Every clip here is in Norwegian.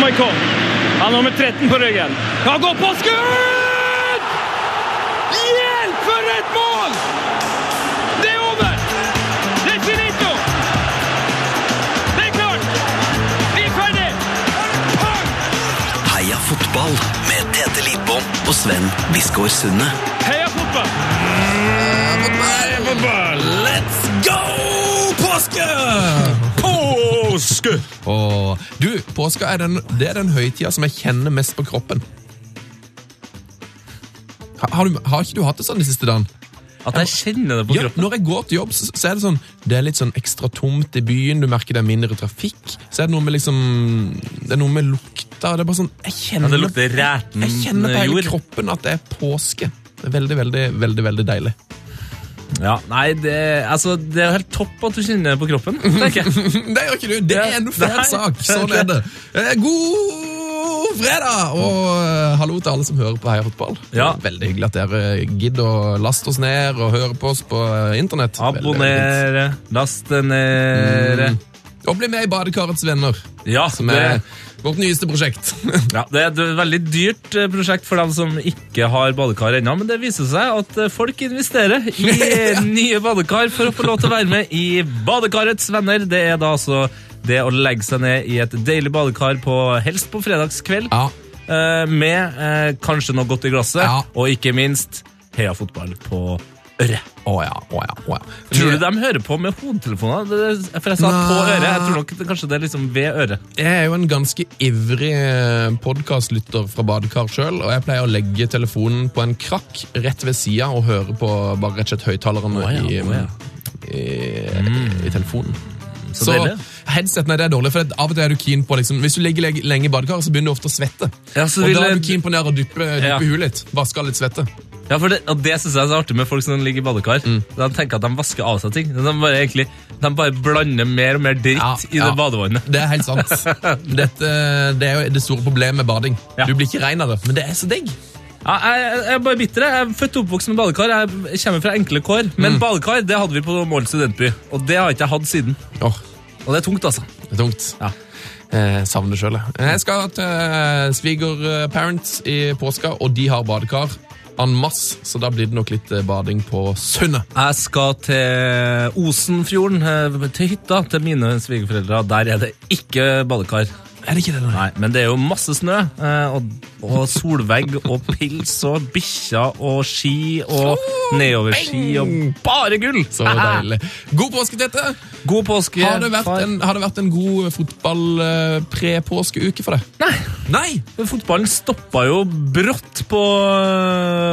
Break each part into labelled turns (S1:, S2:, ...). S1: Maikon. Han har nummer 13 på ryggen. Han går på skudd! Hjelp, for et mål! Det er over! Det er finito! Det er klart! Vi er ferdig! Pang!
S2: Heia fotball med Tete Lidbom og Sven Biskår Sunde.
S1: Heia fotball!
S2: Let's go, påske!
S3: Påske!
S4: Og du, påska er den, det er den høytida som jeg kjenner mest på kroppen. Ha- Har, du, har ikke du hatt det sånn de siste dagene?
S3: At jeg kjenner det på
S4: Ja,
S3: kroppen.
S4: når jeg går til jobb, så, så er det sånn Det er litt sånn ekstra tomt i byen, du merker det er mindre trafikk. Så er det noe med liksom Det er noe med lukta Det er bare sånn Jeg
S3: Ja,
S4: kjenner,
S3: det lukter ræten
S4: jeg kjenner på hele
S3: jord.
S4: kroppen at det er påske. Det er veldig, veldig, veldig veldig deilig.
S3: Ja, nei, det, altså, det er helt topp at du kjenner det på kroppen, tenker jeg.
S4: Mm, Det gjør ikke du! Det er en fæl
S3: Nei.
S4: sak! Sånn er det. Eh, God fredag! Og eh, hallo til alle som hører på Heia Fotball.
S3: Ja.
S4: Veldig hyggelig at dere gidder å laste oss ned og høre på oss på eh, internett. Veldig, veldig fint.
S3: Abonnere, laste ned
S4: Og bli med i Badekarets venner,
S3: Ja,
S4: Mm. som
S3: det,
S4: er vårt nyeste prosjekt.
S3: ja, det er et veldig dyrt eh, prosjekt for dem som ikke har badekar ennå, men det viser seg at eh, folk investerer i eh, nye badekar for å få lov til å være med i Badekarets venner. Det er da altså det å legge seg ned i et deilig badekar, på, helst på fredagskveld,
S4: ja.
S3: eh, med eh, kanskje noe godt i glasset,
S4: Ja.
S3: og ikke minst heia fotball på øret.
S4: Å ja, å ja, å ja.
S3: Tror du de hører på med hodetelefoner? Det- For jeg sa på
S4: Nei.
S3: øret. Jeg tror nok det- kanskje det er liksom ved øret.
S4: Jeg er jo en ganske ivrig podkastlytter fra badekar sjøl, og jeg pleier å legge telefonen på en krakk rett ved sida og høre på bare rett og slett høyttalerne
S3: Å ja,
S4: i,
S3: å ja. Mm.
S4: i, i telefonen.
S3: Så
S4: Så,
S3: deilig.
S4: headsetene det er dårlig, for det- av og til er du keen på liksom, Hvis du ligger leg- lenge i badekaret, så begynner du ofte å svette.
S3: Ja, så
S4: og
S3: vil
S4: da er
S3: jeg-
S4: du keen på ned og dyppe, dyppe
S3: Ja.
S4: huet litt. Vaske av litt svette.
S3: Ja, for det, og det synes jeg er så artig med folk som ligger i badekar.
S4: Mm.
S3: De tenker at de vasker av seg ting. De bare, egentlig, de bare blander mer og mer dritt
S4: Ja,
S3: i det
S4: ja.
S3: badevannet.
S4: Det er helt sant. Dette, det er jo det store problemet med bading.
S3: Ja.
S4: Du blir ikke rein av det, men det er så digg.
S3: Ja, jeg, jeg er bare bitter. jeg. Jeg er født og oppvokst med badekar. Jeg kommer fra enkle kår.
S4: Mm.
S3: Men badekar det hadde vi på Mål studentby, og det har ikke jeg hatt siden.
S4: Åh,
S3: Og det er tungt, altså.
S4: det er tungt.
S3: Ja.
S4: Eh, savner det sjøl, jeg. Jeg skal til eh, svigerparents i påska, og de har badekar en masse, så da blir det nok litt eh, bading på sundet.
S3: Jeg skal til Osenfjorden, eh, til hytta til mine svigerforeldre. Der er det ikke badekar.
S4: Er det ikke det?
S3: Nei, men det er jo masse snø, eh, og, og solvegg og pils og bikkjer og ski og nedoverski og bare gull!
S4: Så deilig. God påske, Tete!
S3: God påske.
S4: Har det vært
S3: far.
S4: en, har det vært en god fotball-pre-påskeuke for deg?
S3: Nei!
S4: Nei!
S3: Fotballen stoppa jo brått på,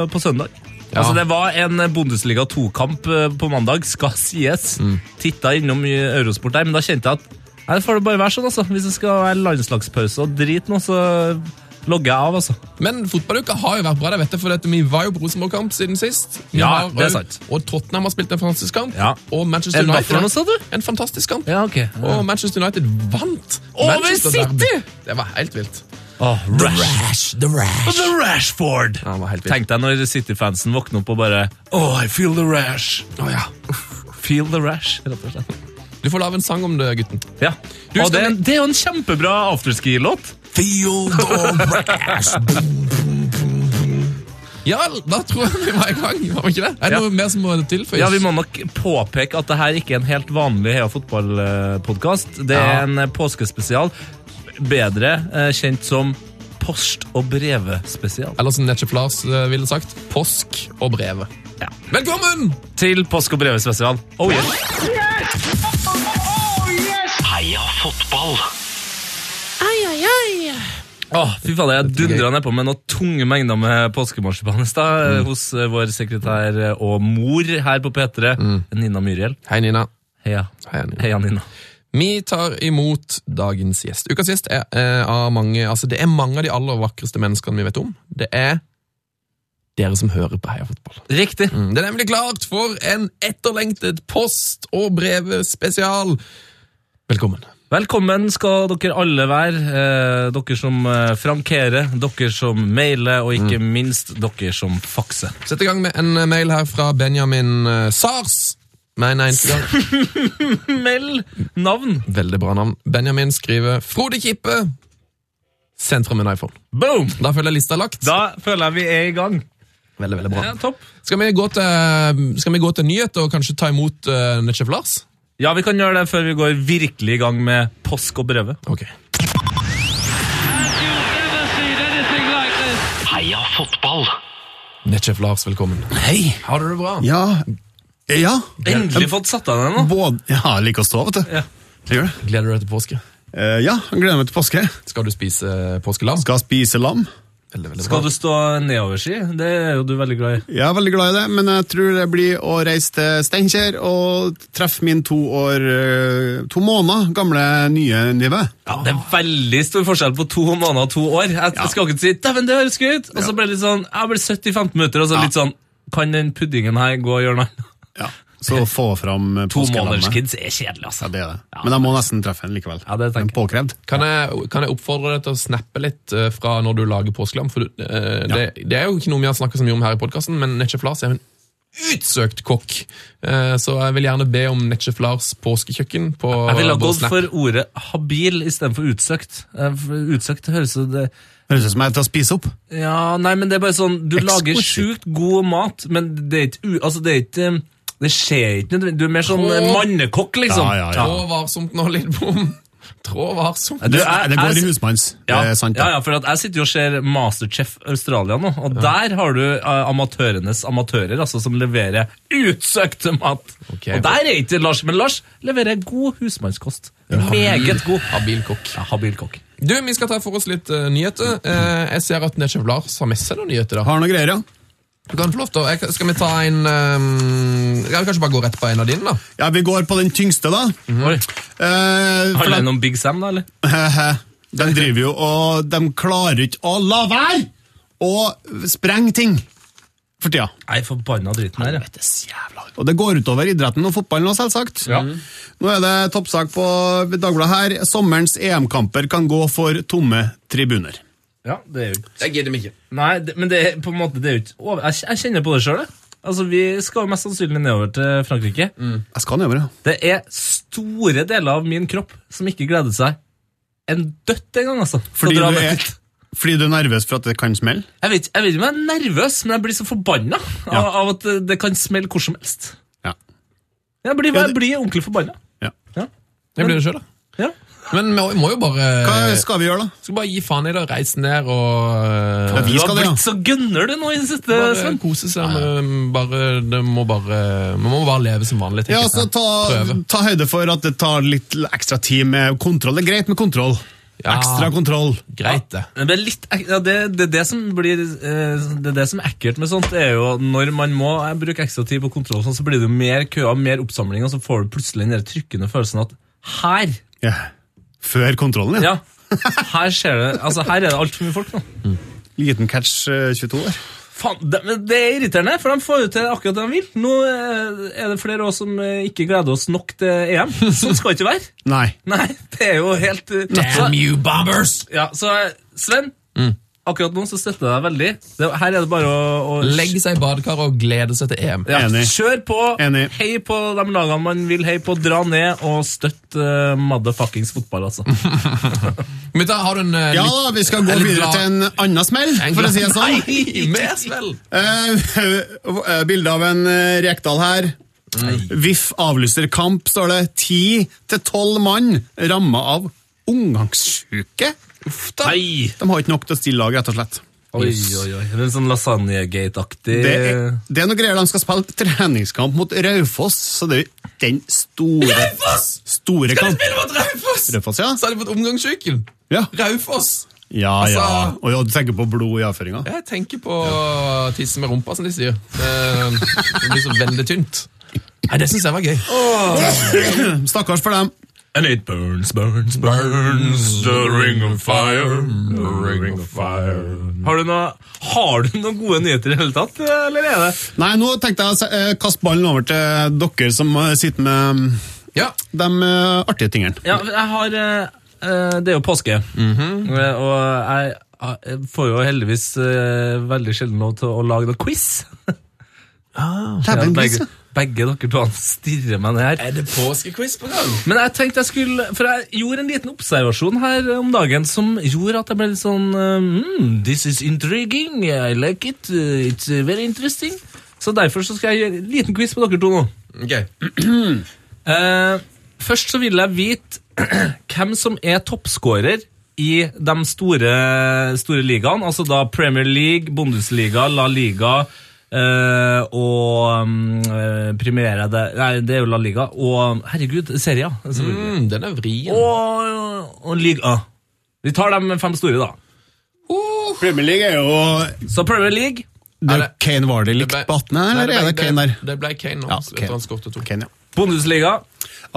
S3: på søndag.
S4: Ja.
S3: Altså, det var en Bundesliga 2-kamp eh, på mandag, skal sies.
S4: Mm.
S3: Titta innom i Eurosport der, men da kjente jeg at Nei, det får det bare være sånn, altså. Hvis det skal være landslagspause og drit nå, så logger jeg av, altså.
S4: Men fotballuka har jo vært bra. det vet jeg, for dette, Vi var jo på Rosenborg-kamp siden sist. Vi
S3: Ja,
S4: har,
S3: det er
S4: eh,
S3: sant.
S4: Og Tottenham har spilt en fantastisk kamp.
S3: Ja.
S4: Og Manchester
S3: En hva
S4: United
S3: for noe, sa du?
S4: En fantastisk kamp.
S3: Ja, ok.
S4: Og Manchester United vant.
S3: Over
S4: Manchester
S3: City!
S4: Derby. Det var helt vilt.
S3: Åh, rash.
S4: The Rash.
S3: The Rashford!
S4: Ja, han var helt vild.
S3: Tenk deg når City-fansen våkner opp og bare Oh, I feel the rash.
S4: Å, ja.
S3: Feel the rash, rett og slett.
S4: Du får lage en sang om det, gutten.
S3: Ja.
S4: Du
S3: og
S4: skal
S3: det,
S4: vi-
S3: det er jo en kjempebra afterski-låt.
S4: Feel the rash. Ja, da tror jeg vi var i gang. Var vi ikke det? Er det
S3: Ja.
S4: noe mer som må tilføyes?
S3: Ja, Vi må nok påpeke at det her ikke er en helt vanlig Heia fotball-podkast. Det er
S4: Ja.
S3: en eh, påskespesial, bedre eh, kjent som Post- og brevespesial.
S4: Eller som Netchef Lars eh, ville sagt, påsk og brevet.
S3: Ja.
S4: Velkommen!
S3: Til Post- og brevespesial. Oh, yes.
S2: Heia fotball.
S3: Åh, fy faen, Jeg dundra nedpå med noen tunge mengder med påskemarsipan i stad eh, hos eh, vår sekretær eh, og mor her på P3, Nina Myriel.
S4: Hei, Nina.
S3: Heia.
S4: Hei, Nina.
S3: Heia, Nina.
S4: Vi tar imot dagens gjest. Ukas gjest er, eh, av mange, altså det er mange av de aller vakreste menneskene vi vet om. Det er dere som hører på Heia Fotball.
S3: Riktig.
S4: Mm, Det er nemlig klart for en etterlengtet post- og brevespesial. Velkommen.
S3: Velkommen skal dere alle være. Eh, dere som eh, frankerer, dere som mailer, og ikke minst dere som fakser.
S4: Sett i gang med en eh, mail her fra Benjamin eh, Sars. Med en eneste gang.
S3: Meld navn!
S4: Veldig bra navn. Benjamin skriver Frode Kippe. Sendt frem en iPhone.
S3: Boom!
S4: Da føler jeg lista er lagt.
S3: Da føler jeg vi er i gang.
S4: Veldig, veldig bra.
S3: Ja, topp.
S4: Skal vi gå til, eh, skal vi gå til nyhet og kanskje ta imot uh, nettsjef Lars?
S3: Ja, vi kan gjøre det før vi går virkelig i gang med påsk og brøve.
S4: Ok.
S1: you ever seen anything like this?
S2: Heia fotball!
S4: Nettsjef Lars, velkommen.
S5: Hei!
S4: Har du det bra?
S5: Ja, Eh, ja.
S3: Endelig fått satt av den nå.
S5: Både, ja jeg liker å stå, vet du.
S3: Ja.
S5: Gjør det.
S4: Gleder du deg til påske?
S5: Eh, ja, jeg gleder meg til påske.
S4: Skal du spise påskelam?
S5: Skal spise lam.
S4: Veldig, veldig
S3: Skal
S4: bra.
S3: du stå nedoverski? Det er jo du veldig glad i.
S5: Jeg er veldig glad i det, men jeg tror det blir å reise til Steinkjer og treffe min to år, eh, to måneder gamle nye Nive.
S3: Det er veldig stor forskjell på to måneder og to år. Jeg skal ikke si 'dæven, det høres gøy ut', og så blir det litt sånn Jeg blir 70 i 15 minutter, og så
S5: Ja.
S3: litt sånn Kan den puddingen her gå og gjøre noe annet?
S5: Ja. Så få fram eh,
S3: To måneders
S5: påskelammet.
S3: kids er kjedelig, altså.
S5: Ja, det er det. Men jeg må nesten treffe en likevel.
S3: Ja, det tenker
S5: Den
S3: jeg.
S5: Påkrevd.
S4: Kan jeg, kan jeg oppfordre deg til å snappe litt eh, fra når du lager påskelam? For du, eh, det, det er jo ikke noe vi har snakket så mye om her i podkasten, men Netchef Lars er jo en utsøkt kokk. Eh, Så jeg vil gjerne be om Netchef Lars påskekjøkken på
S3: Jeg ville ha
S4: på
S3: gått
S4: Snap.
S3: for ordet habil istedenfor utsøkt. Eh, for Utsøkt høres jo det
S5: Høres ut som jeg er til å spise opp.
S3: Ja, nei, men det er bare sånn Du lager
S5: Exquisite.
S3: sjukt god mat, men det er ikke u... Altså, det er ikke eh, Det skjer ikke nødvendigvis. Du er mer sånn eh, mannekokk, liksom.
S5: Ja, ja, ja.
S4: Trå varsomt nå, Lidbom. Trå varsomt.
S5: Det,
S3: jeg-
S5: det går
S3: jeg-
S5: i husmanns.
S3: Ja,
S5: Det er sant. det.
S3: ja, ja, for at jeg sitter jo og ser Masterchef Australia nå, og der har du eh, amatørenes amatører, altså som leverer utsøkt mat.
S4: Ok.
S3: Og der er ikke Lars, men Lars leverer god husmannskost. Meget god.
S4: Habil kokk.
S3: Ja, habil kokk.
S4: Du, vi skal ta for oss litt eh, nyheter. Eh, jeg ser at Netchef Lars har med seg noen nyheter. da.
S5: Har noe greier, ja.
S4: Du kan få lov til å... jeg- Skal vi ta en eh, ja, vi Kanskje bare gå rett på en av dine, da?
S5: Ja, Vi går på den tyngste, da.
S3: Oi,
S5: Eh, for
S3: Handler
S5: den-
S3: det om Big Sam, da, eller?
S5: De driver jo og De klarer ikke å la være å sprenge ting for tida.
S3: Nei, forbanna driten her, ja.
S5: Og det går utover idretten og fotballen òg, selvsagt.
S3: Ja.
S5: Nå er det toppsak på Dagbladet her. Sommerens EM-kamper kan gå for tomme tribuner.
S3: ja det er jo ikke
S4: Jeg gidder meg ikke.
S3: Nei, det, men det er på en måte det er jo ikke over. Jeg, jeg kjenner på det sjøl. Altså, vi skal jo mest sannsynlig nedover til Frankrike.
S5: Jeg skal nedover, ja.
S3: Det er store deler av min kropp som ikke gleder seg en dødt engang, altså. til å
S5: Fordi
S3: dra
S5: du,
S3: med.
S5: er, fordi du er nervøs for at det kan smelle?
S3: Jeg vet, jeg vet ikke om jeg er nervøs, men jeg blir så forbanna
S5: Ja.
S3: av, av at det- det kan smelle hvor som helst.
S5: Ja.
S3: Jeg blir,
S5: Ja,
S3: jeg
S5: det-
S3: blir ordentlig forbanna.
S5: ja.
S4: Jeg blir det sjøl, da.
S3: Ja.
S4: Men vi må- vi må jo bare
S5: Hva skal vi gjøre, da?
S4: Skal bare gi faen i det og reise ned og
S5: Ja,
S4: eh,
S5: vi
S3: Du har
S5: skal det, ja.
S3: blitt så gønner du nå i det siste,
S4: bare
S3: Sven.
S4: kose seg med bare, Det må bare Man må bare leve som vanlig. tenker
S5: Ja,
S4: jeg.
S5: altså, ta,
S4: Prøve.
S5: ta høyde for at det tar litt ekstra tid med kontroll. Det er greit med kontroll.
S4: Ja.
S5: Ekstra kontroll.
S4: Greit, det.
S3: Men Det er litt, ek- ja, det, det, er det, som blir, eh, det er det som er ekkelt med sånt, det er jo at når man må eh, bruke ekstra tid på kontroll, og sånn, så blir det jo mer køer, mer oppsamling, og så får du plutselig den der trykkende følelsen at her,
S5: Ja. Før kontrollen, ja.
S3: ja, her skjer det, altså her er det alt for mye folk nå.
S5: Liten catch eh, 22 år.
S3: Faen, det, men det er irriterende, for de får jo til akkurat det de vil. Nå eh, er det flere av oss som eh, ikke gleder oss nok til EM. Sånn skal det ikke være.
S5: Nei.
S3: Nei, det er jo helt eh, så-
S4: you bombers!
S3: Ja, så eh, Sven,
S4: Mm.
S3: akkurat nå så støtter jeg deg veldig. Det, her er det bare å, å
S4: Legge seg i badekaret og glede seg til EM.
S3: Ja,
S5: Enig.
S3: Kjør på,
S5: Enig.
S3: hei på de lagene man vil hei på, dra ned og støtt uh, motherfuckings fotball, altså.
S4: Mutta, har du en eh,
S5: Ja
S4: litt-
S5: da, vi skal gå
S4: en litt
S5: videre
S4: glad-
S5: til en annen smell,
S4: en
S5: for å
S4: glad-
S5: si det sånn.
S4: Nei, mer smell!
S5: Eh, Bilde av en eh, Rekdal her. VIF avlyser kamp, står det. Ti til tolv mann ramma av omgangssjuke. Uff da.
S3: Nei!
S5: De har ikke nok til å stille lag, rett og slett.
S3: Oi, oi, oi. Det er en sånn lasagnegate-aktig
S5: Det er,
S4: Eh.
S5: det er noe greier de skal spille treningskamp mot Raufoss, så det er jo den store
S4: Raufoss!
S5: Store
S4: Kan du
S5: kamp.
S4: spille mot Raufoss?
S5: Raufoss, ja.
S4: Så har de fått omgangssyken.
S5: Ja,
S4: Raufoss.
S5: ja.
S4: Altså-
S5: ja. Og ja, du tenker på blod i avføringa?
S4: Jeg tenker på tisse med rumpa, som de sier. Det, det blir så veldig tynt. Nei, Det syns jeg var gøy.
S5: Stakkars for dem.
S3: And it burns, burns, burns, the ring of fire, the ring of fire. Har du, noe, har du noen gode nyheter i det hele tatt, eller er det?
S5: Nei, nå tenkte jeg å se- eh, kaste ballen over til dere som eh, sitter med mm,
S4: Ja,
S5: de eh, artige tingene.
S3: Ja, jeg har eh, eh, Det er jo påske,
S5: Mhm.
S3: Eh, og jeg eh, jeg får jo heldigvis eh, veldig sjelden lov til å lage noe quiz.
S5: Dæven
S3: Ja,
S5: gris,
S3: begge-
S5: ja.
S3: begge dere to stirrer meg ned her.
S4: Er det påskequiz på gang?
S3: Men jeg tenkte jeg skulle, for jeg gjorde en liten observasjon her om dagen som gjorde at jeg ble litt sånn eh, mm, This is intriguing, I like it, eh, it's eh, very interesting. Så derfor så skal jeg gjøre en liten quiz på dere to nå.
S4: Ok.
S3: Eh, først så vil jeg vite hvem som er toppskårer i de store, store ligaene, altså da Premier League, Bundesliga, La Liga eh, og um, eh, Primera det, Nei, det er jo La Liga. Og herregud, altså. Seria. selvfølgelig.
S4: Mm, den er vrien.
S3: Og, og Liga. Vi tar de fem store, da.
S5: Premier League er jo
S3: Så Premier League
S5: Det er
S4: Er
S5: jo
S4: det-
S5: Kane var det likt
S4: ble-
S5: på 18, her,
S4: Nei,
S5: eller
S4: ble-
S5: er det Kane der?
S4: Det ble Kane nå.
S5: Ja,
S4: etter
S5: Kane.
S4: han skåret to.
S5: Kane, ja.
S3: Bundesliga.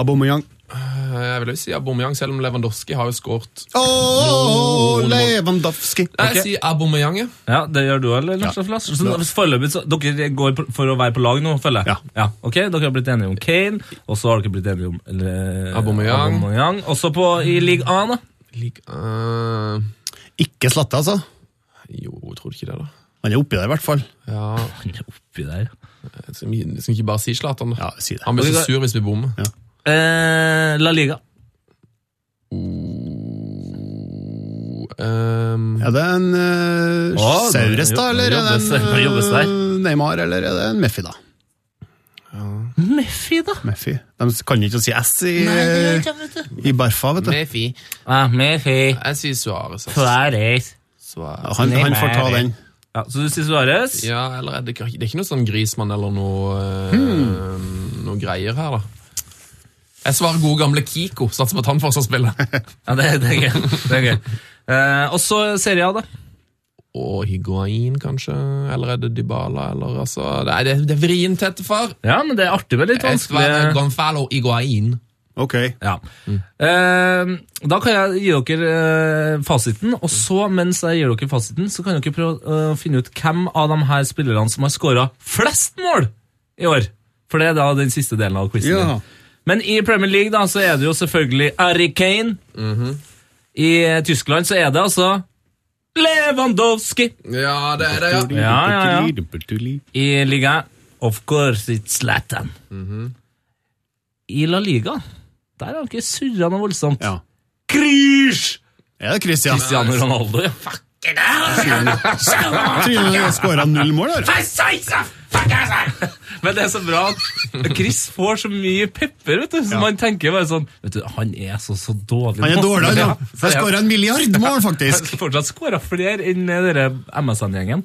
S5: Aubameyang.
S4: Eh, Jeg vil jo si Aubameyang, selv om Lewandowski har jo skåret
S5: Åh, oh, Lewandowski.
S4: Nei, jeg sier Aubameyang. ja.
S3: Ja, Det gjør du eller, Lars Olaf Lass? Så Foreløpig så Dere går på- for å være på lag nå, føler jeg? Ja. ok, Dere har blitt enige om Kane, og så har dere blitt enige om eller, eh,
S4: Aubameyang.
S3: Aubameyang. Også på, i league A, da.
S4: Lik, eh,
S5: Ikke Slatte, altså.
S4: jo, tror du ikke det, da?
S5: Han er oppi der, i hvert fall.
S4: Ja,
S3: Han er oppi der.
S4: Skal vi skal vi ikke bare si Zlatan, da?
S5: Ja, si det.
S4: Han blir så sur hvis vi bommer.
S3: Eh, La Liga.
S4: Ehm,
S5: Er det en uh,
S3: Å, det-
S5: Saures, da,
S3: jo-
S5: eller er det
S3: jobbes der,
S5: en
S3: jobbes der.
S5: eh, Neymar, eller er det en Meffi, da?
S3: Meffi, da.
S5: Meffi. De kan ikke si S i,
S4: Eh.
S5: i Barfa, vet du.
S4: Mefi.
S3: Ah, Meffi.
S4: Jeg sier altså. Suárez.
S3: Suárez.
S4: Suárez.
S5: Han, han får ta
S3: Neymar.
S5: den.
S3: Ja, så du sier Suárez?
S4: Ja, eller er det, ikke- det er ikke noe sånn Grismann eller noe, eh, noe greier her, da. Jeg svarer god gamle Kiko. Satser på at han fortsatt spiller.
S3: Ja, det, det er gøy. Det er gøy. Eh, og så Serie A, da.
S4: Og Higuain, kanskje? Eller er det Dybala? Eller, altså, det, er, det, det er vrient, tette far.
S3: Ja, men det er artig med litt
S4: Jeg svarer
S3: vanskelig
S4: Gonfalo Higuain.
S5: Ok.
S3: ja. Eh, Da kan jeg gi dere eh, fasiten, og så mens jeg gir dere fasiten, så kan dere prøve eh, å finne ut hvem av de her spillerne som har skåra flest mål i år. For det er da den siste delen av quizen.
S5: Ja.
S3: din. Men i Premier League da, så er det jo selvfølgelig Harry Kane. I eh, Tyskland så er det altså Lewandowski.
S4: Ja, det er det, ja.
S3: Ja, ja, ja. I liga Of course it's Zlatan. I La Liga Der har han ikke surra noe voldsomt.
S5: Ja.
S3: Krish!
S5: Er det Christian?
S3: Cristiano Ronaldo, ja.
S5: Tryne skåra null mål, der.
S3: Men det er så bra at Chris får så mye pepper, vet du. Så man tenker bare sånn Vet du, han er så, så dårlig.
S5: Han er dårlig, han.
S3: Ja,
S5: ja. Han skåra en milliard mål, faktisk.
S3: Han fortsatt skåra flere enn dere MSN-gjengen.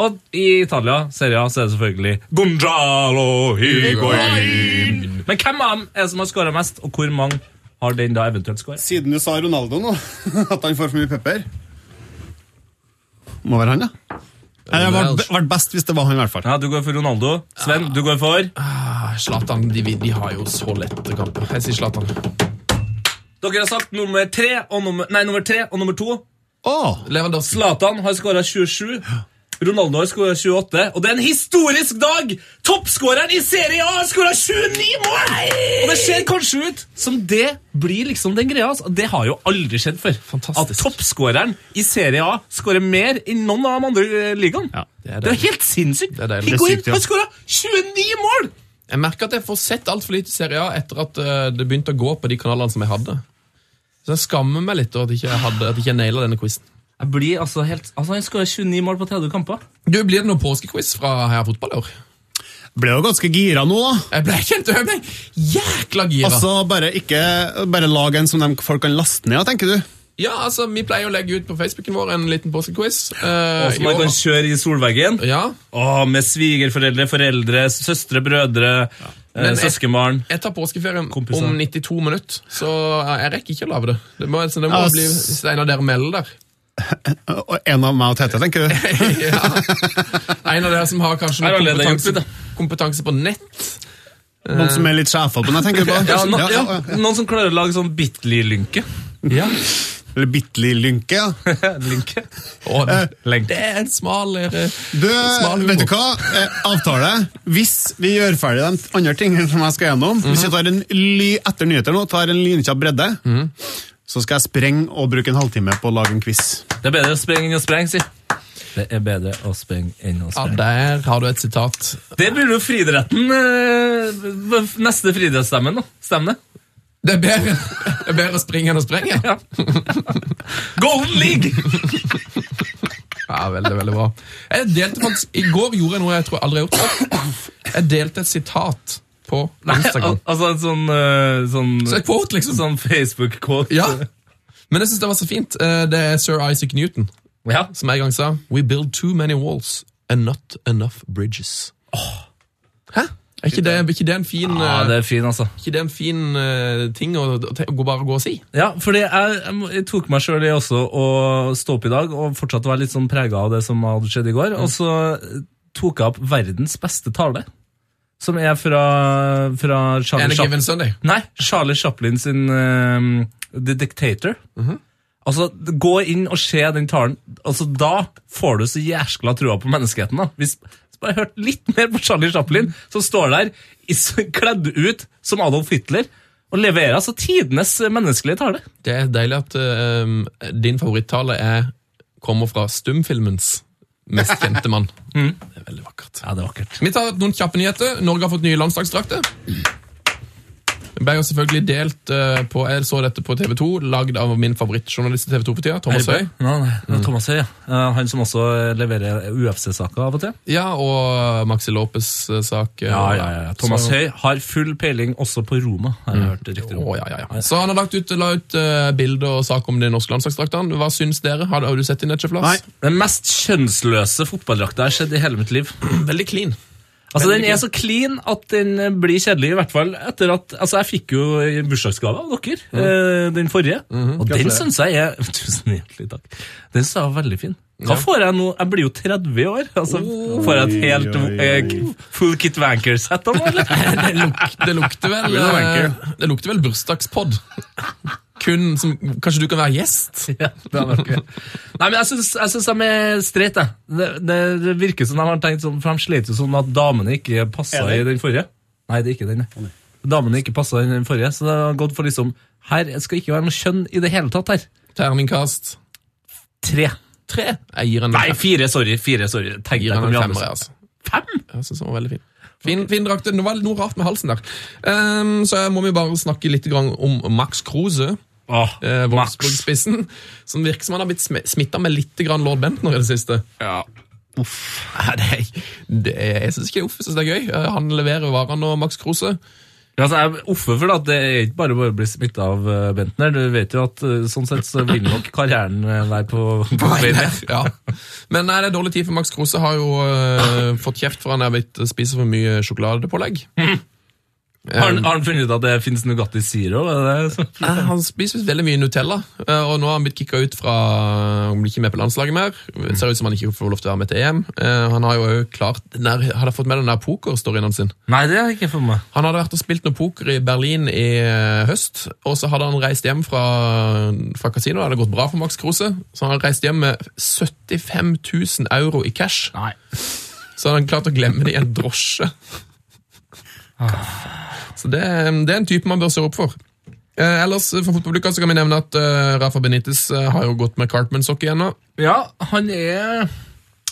S3: Og i Italia, Serie A, så er det selvfølgelig Gonzalo Higuain. Men hvem av dem er det som har skåra mest, og hvor mange har den da eventuelt skåra?
S5: Siden du sa Ronaldo nå, at han får for mye pepper Må være han, ja. Det hadde vært best hvis det var han, i hvert fall.
S3: Ja, du går for Ronaldo. Sven, du går for
S4: Ah, Zlatan, de, de har jo så lette kamper. Jeg sier Zlatan.
S3: Dere har sagt nummer tre og nummer, nei, nummer, tre og nummer to.
S5: Åh,
S4: Lewandowski.
S3: Zlatan har skåra 27. Ronaldo har skåra 28, og det er en historisk dag! Toppskåreren i Serie A har skåra 29 mål! Og det ser kanskje ut som det blir liksom den greia. altså. Det har jo aldri skjedd før.
S4: Fantastisk.
S3: At toppskåreren i Serie A skårer mer enn noen av de andre eh, ligaene.
S4: det er
S3: det er helt sinnssykt!
S4: Det er deilig.
S5: Det er
S3: Higuain
S5: sykt, ja.
S3: har skåra 29 mål!
S4: Jeg merker at jeg får sett altfor lite Serie A etter at eh, det begynte å gå på de kanalene som jeg hadde. Så jeg skammer meg litt over at jeg ikke hadde, at jeg ikke naila denne quizen.
S3: Jeg blir altså helt, altså Han skåra 29 mål på 30 kamper.
S4: Du, Blir det noen påskequiz fra Heia Fotball i år?
S5: ble jo ganske gira nå, da.
S4: Jeg ble kjent jeg ble jækla gira!
S5: Altså, bare, ikke, bare lag en som de folk kan laste ned, tenker du.
S4: Ja, altså, Vi pleier å legge ut på Facebooken vår en liten påskequiz. eh,
S3: Og
S4: i
S3: som Altså, man
S4: år.
S3: kan kjøre i solveggen.
S4: ja.
S3: Åh, med svigerforeldre, foreldre, søstre, brødre, eh,
S4: Men jeg-
S3: søskenbarn.
S4: Jeg tar påskeferien
S3: Kompiser.
S4: om 92 minutter, så eh, jeg rekker ikke å lage det. Det må, så det må
S5: Ass.
S4: bli Steinar dere melder der.
S5: Og en av meg og Tete, tenker du.
S4: ja. En av dere som har kanskje
S3: Her
S4: noe
S3: har lederen
S4: kompetanse,
S3: hjulpet, da.
S4: kompetanse på nett.
S5: Noen som er litt sjefer på den, tenker du på.
S3: Ja, no,
S5: Ja,
S3: ja,
S5: ja, ja.
S3: Noen som klarer å lage sånn Bitly-lynke.
S4: Ja.
S5: Eller Bitli Lynke, ja.
S3: Lynke.
S4: Og Eh,
S3: Lenke.
S4: det er en smal eh,
S5: Du,
S4: smal humor.
S5: vet du hva? Eh, avtale. Hvis vi gjør ferdig de andre tingene som jeg skal gjennom, hvis jeg tar en ly etter nyheter nå, tar en lynkjapp bredde, så skal jeg sprenge og bruke en halvtime på å lage en quiz.
S3: Det er bedre å sprenge enn å sprenge, si. Det er bedre å sprenge enn
S4: Ja,
S3: å sprenge.
S4: der har du et sitat.
S3: det blir jo friidretten eh, neste friidrettsstemmen, da. Stem det.
S4: Det er bedre, det er bedre å springe enn å sprenge. Ja.
S3: Golden League!
S4: veldig, veldig bra. Jeg delte faktisk, I går gjorde jeg noe jeg tror jeg aldri har gjort før. Jeg delte et sitat på Instagram.
S3: altså en sånn, eh, sånn,
S4: Så et quote, liksom.
S3: sånn Facebook-quote.
S4: Ja. Men jeg syns det var så fint. Eh, Det er sir Isaac Newton
S3: Ja. sånn,
S4: som en gang sa We build too many walls and not enough bridges. Hæ? Er ikke det, er ikke det en fin,
S3: ja,
S4: eh,
S3: det er fin, altså.
S4: ikke det en fin eh, ting å, å te- å gå- bare gå og si?
S3: Ja, fordi jeg, jeg må- jeg tok meg sjøl i også å stå opp i dag og fortsatt være litt sånn prega av det som hadde skjedd i går. Og så tok jeg opp verdens beste tale, som er fra, fra
S4: En given
S3: Charlie Chaplin.
S4: Sunday.
S3: Nei, Charlie Chaplin sin eh, The Dictator.
S4: Mhm.
S3: Altså, Gå inn og se den talen. Altså, Da får du så jæskla trua på menneskeheten. da. Hvis hvis bare hørt litt mer på Charlie Chaplin, som står der i s- kledd ut som Adolf Hitler, og leverer altså tidenes menneskelige tale.
S4: Det er deilig at eh, din favorittale er, kommer fra stumfilmens mest kjente mann. Det er veldig vakkert.
S3: Ja, det er vakkert.
S4: Vi tar noen kjappe nyheter. Norge har fått nye landslagsdrakter. Det ble jo selvfølgelig delt eh, på Jeg så dette på TV 2, lagd av min favorittjournalist i TV 2 på tida, Thomas Mm. Høy.
S3: Ja, nei, det er Thomas Høy, ja. Eh, Han som også leverer UFC-saker av og til.
S4: Ja, og Maxi Lopes eh, sak. eh,
S3: Thomas
S4: så-
S3: Høy har full peiling også på Roma, har jeg hørt rykter om.
S4: Mm. Å, ja, ja, ja. Så han har lagt ut, la ut eh, bilder og sak om de norske landslagsdraktene. Hva syns dere? Har, har du sett det, Netcheflas?
S5: Nei.
S3: Den mest kjønnsløse fotballdrakta jeg har sett i hele mitt liv.
S4: Veldig clean.
S3: Altså, Den er så clean at den eh, blir kjedelig, i hvert fall etter at Altså, jeg fikk jo i bursdagsgave av dere, eh, den forrige, og den syns jeg er Tusen hjertelig takk. Den synes jeg var veldig fin. Hva får jeg nå? Jeg blir jo 30 år. altså Får jeg et helt
S5: Oi, oi, oi.
S3: eh, full Kit Wanker-sett av noe, eller?
S4: Det, luk, det lukter vel
S5: Vil du
S4: eh,
S5: vanke?
S4: Det lukter vel bursdagspod. Kun som Kanskje du kan være gjest?
S3: Ja, det hadde vært gøy. Nei, men jeg syns, jeg syns de er streit, jeg. Det, det virker som de har tenkt sånn, for de sliter jo sånn at damene ikke passa i den forrige. Nei, det er ikke den. nei. Damene ikke passa i den forrige, så det har gått for liksom Her skal ikke være noe kjønn i det hele tatt her.
S4: Terningkast
S3: Tre.
S4: tre. Jeg gir en
S3: Nei, fire, sorry. fire, sorry. Tenk
S4: gir
S3: deg
S4: han
S3: hvor
S4: en
S3: mye
S4: femmer, jeg,
S3: annet.
S4: altså.
S3: Fem?!
S4: Jeg synes den var veldig fin. Fin, fin drakt. Det var noe rart med halsen der. Ehm, så må vi bare snakke litt grann om Max Kruse.
S3: Åh,
S4: Eh,
S3: Max.
S4: Wolfsburg-spissen, som virker som han har blitt smitta med litt grann Lord Bentner i det siste.
S3: Ja.
S4: Nei, det, er- det, er- jeg syns ikke det er uff, jeg synes det er gøy. Eh, Han leverer varene og Max Kruse.
S3: Altså, jeg er offer for det at det er ikke bare bare å bli smitta av eh, Bentner. Du vet jo at eh, sånn sett så vil nok karrieren eh, være på, på vei ned.
S4: Ja. Men nei, det er dårlig tid, for Max Krose har jo eh, fått kjeft for han er blitt spiser for mye sjokoladepålegg.
S3: Har han, har han funnet ut at det finnes Nugatti Zero? Er det det som-
S4: Nei, Han spiser veldig mye Nutella, eh, og nå har han blitt kicka ut fra Han blir ikke med på landslaget mer. Det ser ut som han ikke får lov til å være med til EM. Eh, Han har jo også klart den der, Hadde fått med den der pokerstoryen hans sin.
S3: Nei, det har jeg ikke fått med meg.
S4: Han hadde vært og spilt noe poker i Berlin i eh, høst, og så hadde han reist hjem fra, fra kasinoet. Det hadde gått bra for Max Kruse, så han hadde reist hjem med 75 000 euro i cash.
S3: Nei.
S4: Så hadde han klart å glemme det i en drosje. Så det, er- det er en type man bør se opp for. Eh, ellers for fotballuka så kan vi nevne at eh, Rafa Benitez eh, har jo gått med Cartman-sokk igjen nå.
S3: Ja, han er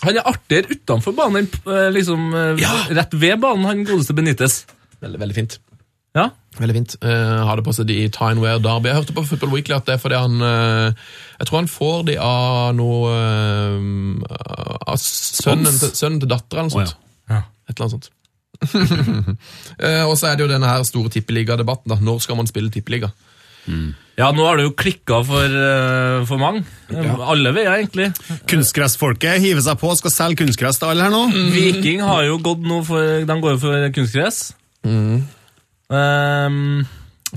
S3: han er artigere utenfor banen enn eh, liksom, eh, rett ved banen, han godeste Benitez.
S4: Veldig, veldig fint.
S3: Ja.
S4: Veldig fint. Eh, har det på seg de i Tyne Wear Derby. Jeg hørte på Football Weekly at det er fordi han eh, Jeg tror han får de av noe eh, Av sønnen til, sønnen til datteren eller noe sånt.
S3: Ja.
S4: Et eller annet sånt. Eh, og så er det jo denne her store tippeligadebatten. da. Når skal man spille tippeliga?
S3: ja, nå har det jo klikka for, eh, for mange. Alle veier, egentlig.
S5: Kunstgressfolket hiver seg på og skal selge kunstgress til alle her nå.
S3: Viking har jo gått nå for De går jo for kunstgress. Ehm,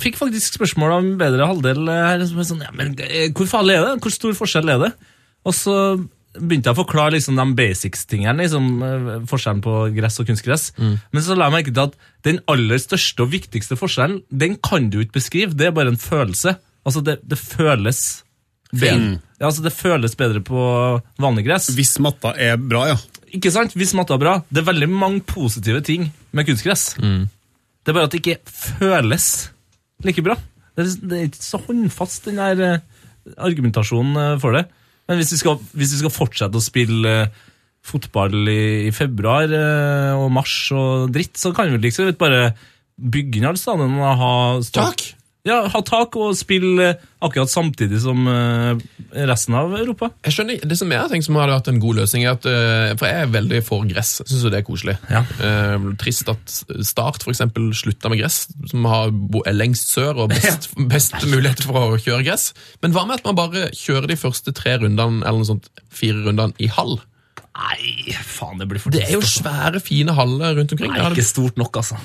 S3: fikk faktisk spørsmål av en bedre halvdel her. Som er sånn, ja, men eh, Hvor farlig er det? Hvor stor forskjell er det? Og så begynte jeg å forklare liksom, de basics-tingene. Liksom, eh, forskjellen på gress og kunstgress. Men så la jeg merke til at den aller største og viktigste forskjellen den kan du ikke beskrive. Det er bare en følelse. Altså, det, det føles bedre. Ja, altså, det føles bedre på vanlig gress.
S5: Hvis matta er bra, ja.
S3: Ikke sant? Hvis matta er bra. Det er veldig mange positive ting med kunstgress. Det er bare at det ikke føles like bra. Det er, det er ikke så håndfast, den der eh, argumentasjonen eh, for det. Eh, Men hvis vi skal, hvis vi skal fortsette å spille eh, fotball i, i februar eh, og mars og dritt, så kan vi vel liksom bare bygge inn alle stadion og ha stå-
S4: Tak?
S3: Ja, ha tak og spille eh, akkurat samtidig som eh, resten av Europa.
S4: Jeg skjønner, ikke- Det som jeg har tenkt som hadde vært en god løsning, er at, eh, for jeg er veldig for gress. Jeg syns jo det er koselig.
S3: Ja.
S4: Eh, trist at Start for eksempel slutta med gress, som har, bo- er lengst sør og best, best muligheter for å kjøre gress. Men hva med at man bare kjører de første tre rundene eller noe sånt, fire rundene i hall?
S3: Nei, faen, det blir for
S4: Det er jo svære, fine haller rundt omkring.
S3: Nei, ikke stort nok, altså.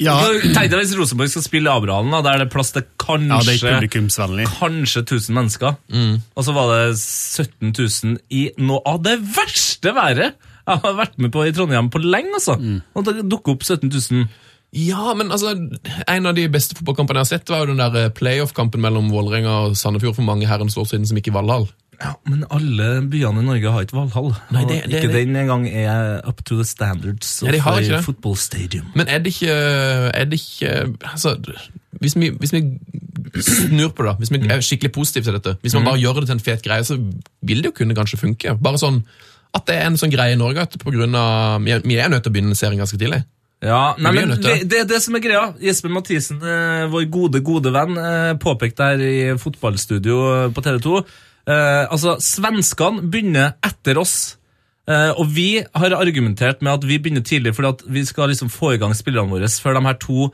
S5: Ja,
S3: Tenk deg hvis Rosenborg skal spille i Abrahallen, da, der er det plass til kanskje
S5: ja det er ikke publikumsvennlig.
S3: kanskje 1000 mennesker.
S4: Mm.
S3: Og så var det 17 000 i noe av det verste været jeg har vært med på i Trondheim på lenge. altså. Og det dukker opp 17 000.
S4: Ja, men altså, En av de beste fotballkampene jeg har sett, var jo den der eh, playoff-kampen mellom Vålerenga og Sandefjord for mange herrens år siden, som gikk i Valhall.
S3: Ja, Men alle byene i Norge har ikke Valhall.
S4: Nei, det-
S3: og
S4: det-
S3: ikke
S4: det-
S3: den engang er up to the standards of
S4: Ja, de har ikke
S3: a
S4: det.
S3: football stadium.
S4: Men er det ikke, er det ikke altså, hvis, vi, hvis vi snur på det, da, hvis vi er skikkelig positive til dette Hvis man bare gjør det til en fet greie, så vil det jo kunne kanskje funke. Bare sånn at det er en sånn greie i Norge at på grunn av, vi er- vi er nødt til å begynne en serie ganske tidlig.
S3: Ja, nei,
S4: Vi er
S3: men
S4: nødt
S3: det,
S4: til det.
S3: det er det som er greia. Jesper Mathisen, eh, vår gode, gode venn, eh, påpekte her i fotballstudio eh, på TV 2 eh, Altså, svenskene begynner etter oss. Eh, og vi har argumentert med at vi begynner tidlig fordi at vi skal liksom få i gang spillerne våre før de her to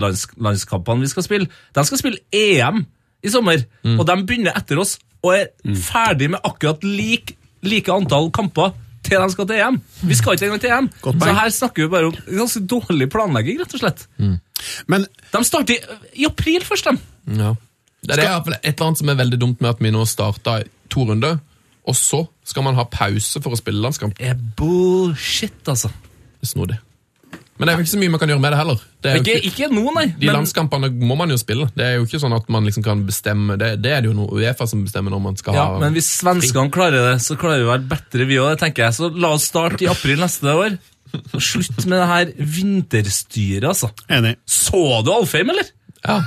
S3: nisselandskampene vi skal spille. De skal spille EM i sommer, og de begynner etter oss og er ferdig med akkurat lik, like antall kamper til de skal til EM. Vi skal ikke engang til EM.
S5: Godt
S3: Så
S5: poeng.
S3: her snakker vi bare om ganske dårlig planlegging, rett og slett.
S5: Men
S3: De starter i, i april først, de.
S4: Ja. Det er i hvert fall et eller annet som er veldig dumt med at vi nå starta to runder, og så skal man ha pause for å spille landskamp.
S3: Det er bullshit, altså.
S4: Det er snodig. Men det er jo ikke så mye man kan gjøre med det heller. Det er jo
S3: Ikke,
S4: ikke,
S3: ikke nå, nei.
S4: de
S3: Men,
S4: landskampene må man jo spille. Det er jo ikke sånn at man liksom kan bestemme Det, det er det jo noe Uefa som bestemmer når man skal
S3: ja,
S4: ha
S3: men hvis svenskene klarer det, så klarer vi å være bedre, vi òg, tenker jeg. Så la oss starte i april neste år. Og slutt med det her vinterstyret, altså.
S5: enig.
S3: Så du Alfheim, eller?
S4: Ja.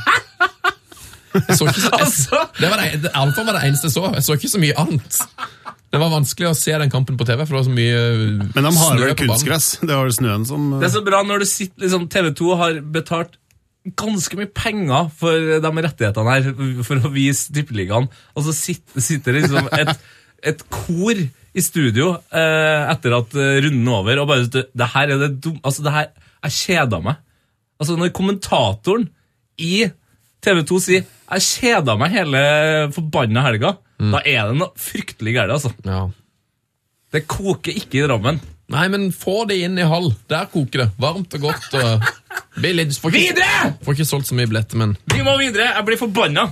S4: Jeg så ikke så,
S3: Altså!
S4: det var det, det, Alfa var det eneste jeg så. Jeg så ikke så mye annet. Det var vanskelig å se den kampen på TV, for det var så mye eh,
S5: Men de har
S4: snø
S5: vel
S4: på banen.
S5: kunstgress? Det har vel snøen som eh,
S3: Det er så bra når du sitter liksom, TV 2 har betalt ganske mye penger for de rettighetene her, for å vise Tippeligaen, og så sitter, sitter det liksom et, et kor i studio eh, etter at eh, runden er over, og bare sitter, Det her er det dumme Altså, det her Jeg kjeda meg. Altså, når kommentatoren i TV 2 sier 'Jeg kjeda meg hele forbanna helga', da er det noe fryktelig galt, altså.
S4: Ja.
S3: Det koker ikke i Drammen.
S4: Nei, men få det inn i hall. Der koker det. Varmt og godt. Og... Blir litt- Får ikke,
S3: Videre!
S4: Får ikke solgt så mye billetter, men
S3: Vi må videre! Jeg blir forbanna!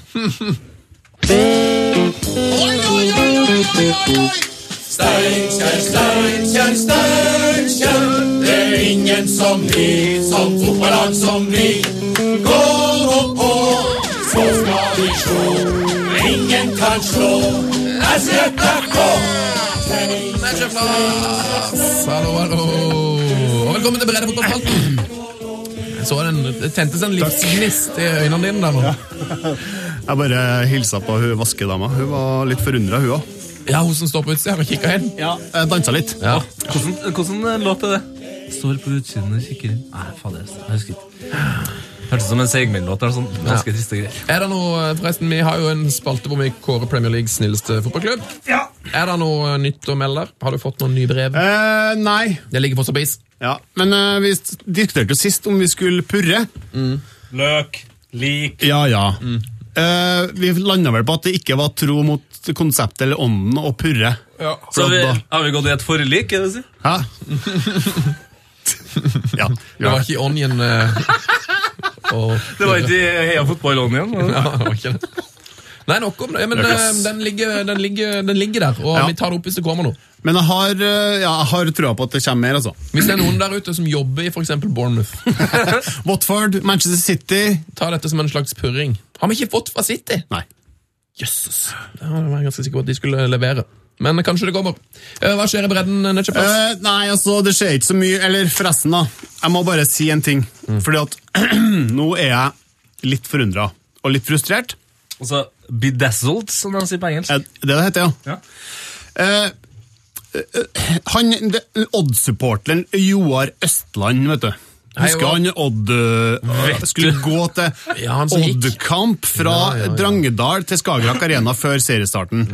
S4: Hallo, hallo. Og velkommen til Brede fotballpalten. Jeg så den, det tentes en livsgnist i øynene dine der nå.
S5: Jeg bare hilsa på hun vaskedama. Hun var litt forundra, hun òg.
S4: Ja, hun som står på utsida og kikker inn.
S5: Jeg dansa litt.
S4: Ja.
S3: Hvordan, hvordan eh, låt er det? Står på utsiden og kikker inn. Nei, fader. Jeg husker ikke. Hørtes ut som en Segmild-låt. eller sånn. Ganske triste greier.
S4: Er det noe, forresten, Vi har jo en spalte hvor vi kårer Premier Leagues snilleste fotballklubb.
S3: Ja.
S4: Er det noe nytt å melde der? Har du fått noen nye brev?
S5: Eh, nei.
S4: Det ligger fortsatt på is.
S5: Ja. Men eh, vi diskuterte jo sist om vi skulle purre.
S3: Løk, lik
S5: Ja, ja. Eh, vi landa vel på at det ikke var tro mot konseptet eller ånden å purre.
S3: Så har vi,
S5: Flott,
S3: har vi gått i et forlik? er det å si?
S5: Hæ? ja.
S4: Det var ikke i Onion eh, og
S3: Det var ikke i Heia fotball-ånden igjen? var det?
S4: Ja, det var ikke det. Nei, nok om det. Ja, Men
S5: Det er
S4: eh,
S5: klass.
S4: den ligger, den, ligger, den ligger der, og
S5: Ja.
S4: vi tar det opp hvis det kommer noe.
S5: Men jeg har, eh, ja, jeg har trua på at det kommer mer, altså.
S4: Hvis det er noen der ute som jobber i for eksempel Bournemouth,
S5: Watford, Manchester City
S4: ta dette som en slags purring. Har vi ikke fått fra City?
S5: Nei.
S4: Jøsses. Det var jeg ganske sikker på at de skulle levere. Men kanskje det kommer. Eh, Hva skjer i bredden, Netcheplass?
S5: Eh, nei, altså, det skjer ikke så mye. Eller forresten, da. Jeg må bare si en ting. Fordi at nå er jeg litt forundra og litt frustrert.
S3: Og så Bedazzled, Altså, som de sier på engelsk.
S5: Ja, Det det heter, ja.
S3: Ja.
S5: Eh, eh, han, det- Odd-supporteren Joar Østland, vet du.
S4: Hei,
S5: Husker
S4: Joar.
S5: han Odd eh, skulle gå til
S4: Ja, han som gikk.
S5: Odd-kamp fra Drangedal til Skagerrak Arena før seriestarten?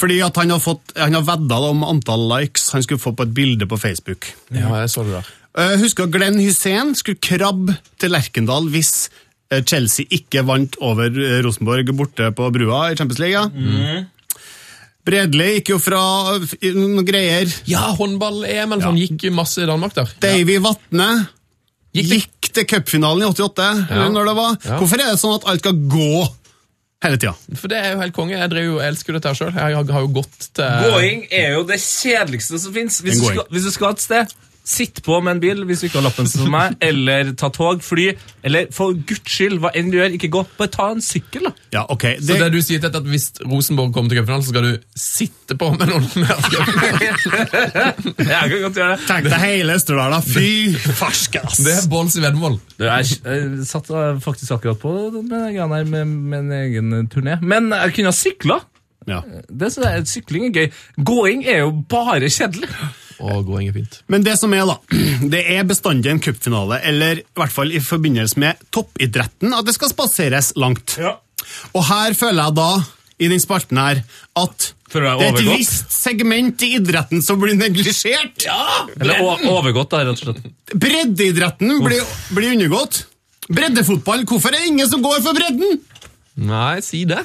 S5: Fordi at han har, fått, han har vedda om antall likes han skulle få på et bilde på Facebook.
S4: Ja, jeg så det der.
S5: Eh, Husker at Glenn Hussein skulle krabbe til Lerkendal hvis eh, Chelsea ikke vant over eh, Rosenborg borte på brua i Champions League. ja.
S4: Mm.
S5: Bredli gikk jo fra eh, f- i noen greier.
S4: Ja, håndball-EM eller sånn gikk masse i Danmark der.
S5: Davy Vatne
S4: Gikk
S5: gikk,
S4: det-
S5: til cupfinalen i 88. eller når det var.
S4: Ja.
S5: Hvorfor er det sånn at alt skal gå hele tida?
S4: For det er jo helt konge. Jeg, drev jo, jeg elsker jo dette her sjøl. Jeg har- har jo gått til
S3: Gåing er jo det kjedeligste som fins. Hvis,
S5: En
S3: du
S5: gåing.
S3: skal- hvis du skal et sted, sitt på med en bil hvis du ikke har lappen som meg, eller ta tog, fly, eller for guds skyld, hva enn du gjør, ikke gå. Bare ta en sykkel, da.
S5: Ja, ok.
S4: Så
S5: Det,
S4: det du sier til dette at hvis Rosenborg kommer til cupfinalen, så skal du sitte på med noen mer cupfinalen?
S3: Jeg kan godt gjøre det.
S5: Tenk deg hele Østerdalen. Fy farsken, ass!
S4: Det er Bolls i veddemål.
S3: Du, Jeg, jeg satt eh, faktisk akkurat på den greia der med min egen turné. Men jeg kunne ha sykla.
S5: Ja.
S3: Det synes jeg, sykling er gøy. Gåing er jo bare kjedelig.
S4: Å, gåing er fint.
S5: Men det som er, da, det er bestandig en cupfinale, eller i hvert fall i forbindelse med toppidretten, at det skal spaseres langt. Og her føler jeg da, i den spalten her, at det
S3: Føler jeg
S5: er et
S3: overgått?
S5: visst segment i idretten som blir neglisjert.
S3: Eller o- overgått, da, rett og slett.
S5: Breddeidretten blir, blir undergått. Breddefotball, hvorfor er det ingen som går for bredden?
S4: Nei, si det.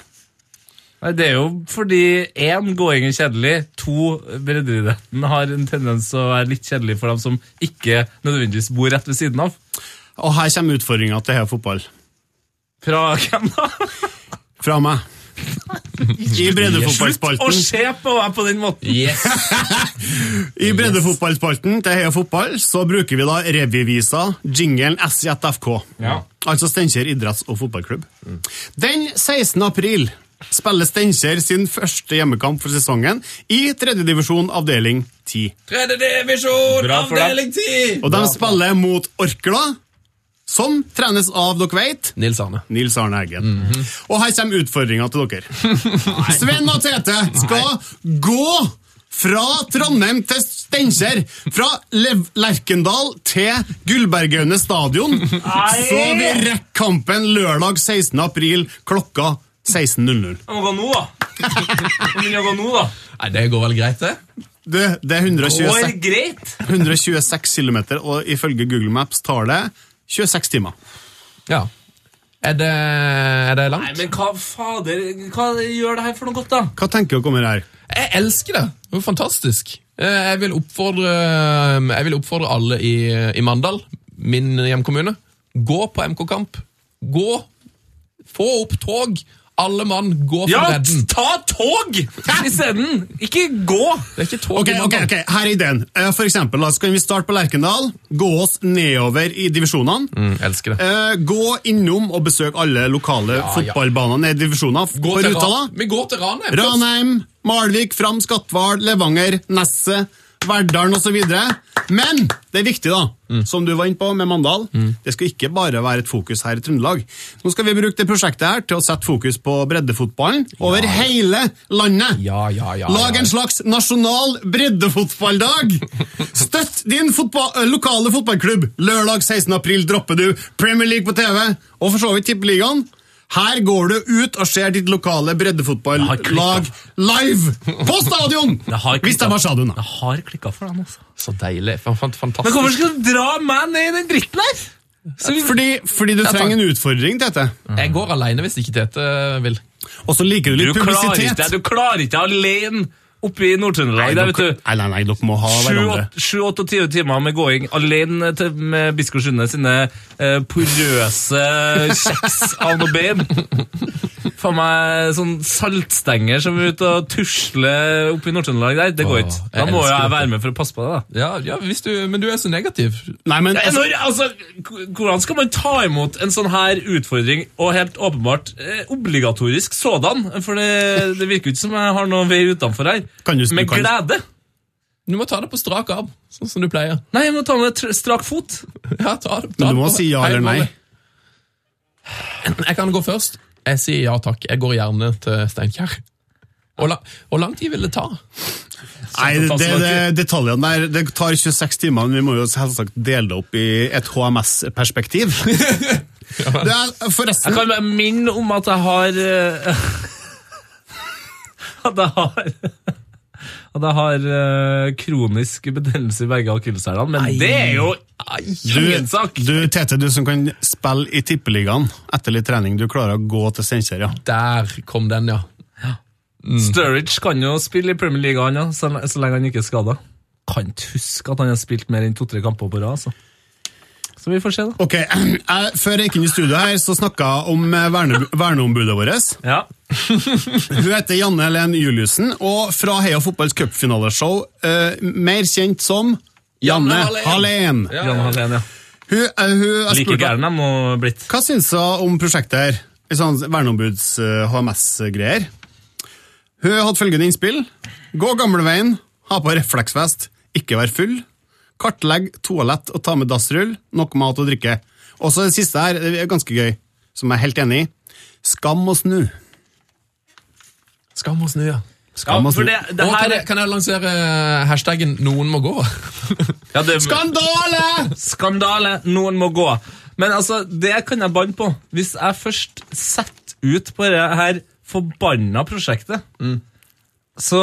S3: Nei, Det er jo fordi én gåing er kjedelig, to breddeidretten har en tendens å være litt kjedelig for dem som ikke nødvendigvis bor rett ved siden av.
S5: Og her kommer utfordringa til Heia Fotball.
S3: Fra hvem da?
S5: Fra meg. I
S3: Å
S5: breddefotballspalten.
S3: se på meg på den måten!
S4: Yes.
S5: I breddefotballspalten til Heia Fotball så bruker vi da revyvisa, jinglen SJFK.
S3: Ja.
S5: Altså Steinkjer idretts- og fotballklubb. Den 16. april spiller Steinkjer sin første hjemmekamp for sesongen i tredjedivisjon avdeling 10.
S4: Tredje divisjon,
S3: Bra for deg.
S4: avdeling ti!
S5: Og de spiller mot Orkla, som trenes av, dere vet,
S4: Nils Arne.
S5: Nils Arne Eggen. Og her kommer utfordringa til dere. Sven og Tete skal gå fra Trondheim til Steinkjer. Fra Lev Lerkendal til Gullbergaune stadion. Så vi rekker kampen lørdag 16. april klokka 16.00.
S3: Jeg må gå nå, da! Jeg må begynne å gå nå, da.
S4: Nei, det går vel greit, det?
S5: Det, det er 126,
S3: greit.
S5: 126 km, og ifølge Google Maps tar det 26 timer.
S4: Ja. Er det, er det
S3: Nei,
S4: langt?
S3: men hva fader Hva gjør det her for noe godt, da?
S5: Hva tenker dere om det her?
S4: Jeg elsker det. Det var fantastisk. Eh, Jeg vil oppfordre, eh, jeg vil oppfordre alle i, i Mandal, min hjemkommune, gå på MK-kamp. Gå. Få opp tog. Alle mann, gå for
S3: Ja,
S4: bredden.
S3: ta tog isteden! Ikke gå!
S4: Det er ikke tog
S5: Ok,
S4: i
S5: ok,
S4: Mandal.
S5: ok, her er ideen. Eh, For eksempel, da, så kan vi starte på Lerkendal, gå oss nedover i divisjonene,
S4: Mm, elsker det.
S5: Eh, gå innom og besøk alle lokale
S4: ja.
S5: fotballbanene i divisjoner f-
S4: Gå
S5: på
S4: til
S5: ruta da.
S4: Ra- Vi går til Ranheim. først.
S5: Ranheim, Malvik, Fram, Skatval, Levanger, Nesse, Verdalen og så videre. Men det er viktig da,
S4: Mm.
S5: som du var inne på med Mandal, det skal ikke bare være et fokus her i Trøndelag. Nå skal vi bruke det prosjektet her til å sette fokus på breddefotballen over hele landet.
S4: Ja, ja, ja.
S5: Lag
S4: ja.
S5: en slags nasjonal breddefotballdag! Støtt din fotball, ø, lokale fotballklubb! Lørdag 16. april dropper du Premier League på TV, og for så vidt Tippeligaen. Her går du ut og ser ditt lokale
S3: har
S5: breddefotballag
S3: klikket.
S5: live på stadion! Hvis de har stadion, da.
S3: Jeg har klikka for den, altså.
S4: Så deilig. Fan- fan- Fantastisk.
S3: Men hvorfor skal du dra meg ned i den dritten der? Så vi...
S5: Fordi, fordi du
S4: takk.
S5: trenger en utfordring til dette.
S4: Jeg går alene hvis ikke Tete vil.
S5: Og så liker du
S3: Du klarer
S5: litt
S3: ikke
S5: publisitet.
S3: det. Du klarer ikke alene oppe i Nord-Trøndelag. der, vet du.
S5: Nei, nei, nei, dere må ha hverandre.
S3: 7-28 timer med gåing alene til, med Biskår Sunde sine eh, porøse kjeks av noe bein. Faen meg sånn saltstenger som er ute og tusler oppe i Nord-Trøndelag der. Det går
S4: Åh,
S3: ikke. Da
S4: jeg
S3: må jo
S4: elsker
S3: jeg
S4: dette.
S3: være med for å passe på det, da.
S4: Ja, ja hvis du, Men du er så negativ.
S5: Nei, men,
S3: Nei, når, altså, k- hvordan skal man ta imot en sånn her utfordring, og helt åpenbart eh, obligatorisk sådan? For det, det virker jo ikke som jeg har noen vei utenfor her.
S5: Kan du-
S3: Med
S5: du kan-
S3: glede!
S4: Du må ta det på strak arm, sånn som du pleier.
S3: Nei, jeg må ta med tr- strak fot.
S4: Ja, ta det, ta
S5: men
S4: det
S5: du må
S4: på-
S5: si ja
S4: Hei,
S5: eller nei.
S4: Molly. Jeg kan gå først. Jeg sier ja takk. Jeg går gjerne til Steinkjer. Hvor la, hvor lang tid vil det ta?
S5: Nei, det, det, detaljene der, det tar 26 timer, men vi må jo selvsagt dele det opp i et HMS-perspektiv. Det er
S3: Jeg
S5: forresten
S3: kan bare minne om at jeg har eh, At jeg har At jeg har eh, kronisk bedennelse i begge akilleshælene, men det er jo ingen sak!
S5: du, Tete, du som kan spille i tippeligaen etter litt trening, du klarer å gå til Steinkjer, ja.
S4: Der kom den, ja.
S3: Sturridge kan jo spille i Premier League, han, ja, så, så lenge han ikke er skada. Kan ikke huske at han har spilt mer enn to-tre kamper på rad, altså. Så vi får se, da.
S5: Ok, jeg, Før jeg gikk inn i studio her, så snakka jeg om eh, verne, verneombudet vårt.
S3: Ja.
S5: Hun heter Janne Helen Juliussen, og fra Heia Fotballs cupfinaleshow, eh, mer kjent som Janne
S4: Janne
S5: Hallén.
S3: Jan Hallén, ja.
S5: Hun, eh, hun, jeg
S3: Like
S5: spurte
S3: gæren de må blitt.
S5: hva syns hun om prosjektet her? I sånn verneombuds eh, HMS-greier. Hun hadde følgende innspill. Gå gamleveien, ha på refleksvest, ikke vær full. Kartlegg toalett og ta med dassrull, nok mat og drikke. Og så det siste her, det er ganske gøy, som jeg er helt enig i. Skam og snu.
S4: Skam og snu, ja.
S5: Skam og snu.
S4: Og kan, jeg, kan jeg lansere hashtaggen 'noen må gå'?
S3: ja, det,
S5: Skandale!
S3: Skandale! Noen må gå. Men altså, det kan jeg banne på. Hvis jeg først setter ut på det her forbanna prosjektet, så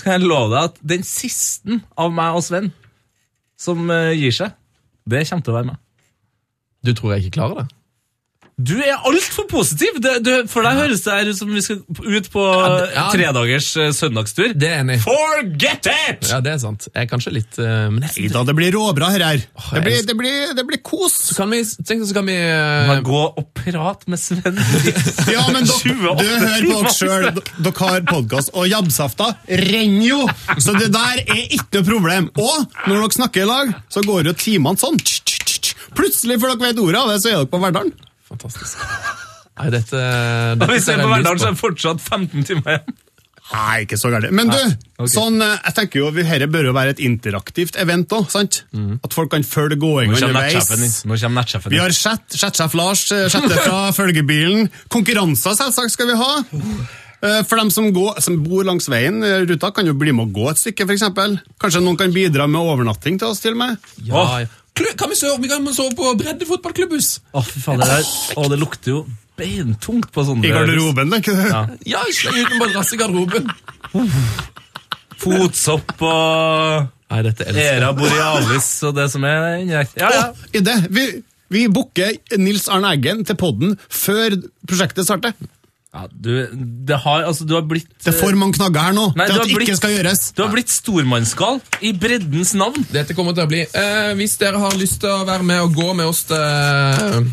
S3: skal jeg love deg at den siste av meg og Sven som eh, gir seg, det kommer til å være meg.
S4: Du tror jeg ikke klarer det?
S3: Du er altfor positiv! Det, du, for deg høres det her ut som vi skal ut på
S4: det- ja.
S3: tredagers eh, søndagstur.
S4: Det er jeg enig i.
S3: Forget it!
S4: Ja, det er sant. Jeg er kanskje litt eh, men jeg,
S5: Ida, det blir råbra her. her. Det
S4: jeg
S5: blir,
S4: elsker-
S5: det blir, det blir kos.
S4: kan vi, tenk så skal vi eh,
S3: Bare gå og prate med Sven.
S5: Ja, men dere,
S3: 28
S5: du hører på dere
S3: timer.
S5: sjøl. Dere har podkast, og jabbsafta renner jo! Så det der er ikke noe problem. Og når dere snakker i lag, så går jo timene sånn. tsk, tsk, tsk. Plutselig, før dere vet ordet av det, så er dere på Verdalen.
S4: Fantastisk. Nei, dette, dette
S3: Hvis jeg er
S4: jeg
S3: på
S4: lyst
S3: Verdalen, så er det fortsatt 15 timer igjen.
S5: Nei, ikke så gærent. Men du, sånn, eh, jeg tenker jo, vi- herre bør jo være et interaktivt event òg, sant? At folk kan følge gåinga
S3: Mm. Nå kommer nettsjefen
S5: underveis.
S3: inn. Nå kommer nettsjefen
S5: Vi
S3: inn.
S5: har chat, chatsjef Lars, eh, chatte fra følgebilen. Konkurranser selvsagt skal vi ha. Eh, For dem som, går, som bor langs veien, eh, ruta kan jo bli med å gå et stykke for eksempel. Kanskje noen kan bidra med overnatting til oss til og med.
S4: på. Ja, ja. Klu- Kan vi sove, vi kan sove på Bredde fotballklubbhus?
S3: Å, fy faen, det, der, å, det lukter jo beintungt på sånne
S5: I garderoben, tenker du?
S3: Ja.
S4: Ja, sleng ut en madrass i garderoben.
S3: Fotsopp og
S4: Nei, dette elsker
S3: Era Borealis og det som er indirekte. Ja, ja.
S5: Og I det, vi, vi booker Nils Arne Eggen til podden før prosjektet starter.
S3: ja du, det har, altså, du har blitt
S5: Det er for mange knagger her nå
S3: Nei, du
S5: til at
S3: har blitt-
S5: ikke skal gjøres.
S3: Du har blitt stormannsgal i breddens navn.
S4: Dette kommer til å bli. Eh, hvis dere har lyst til å være med og gå med oss til,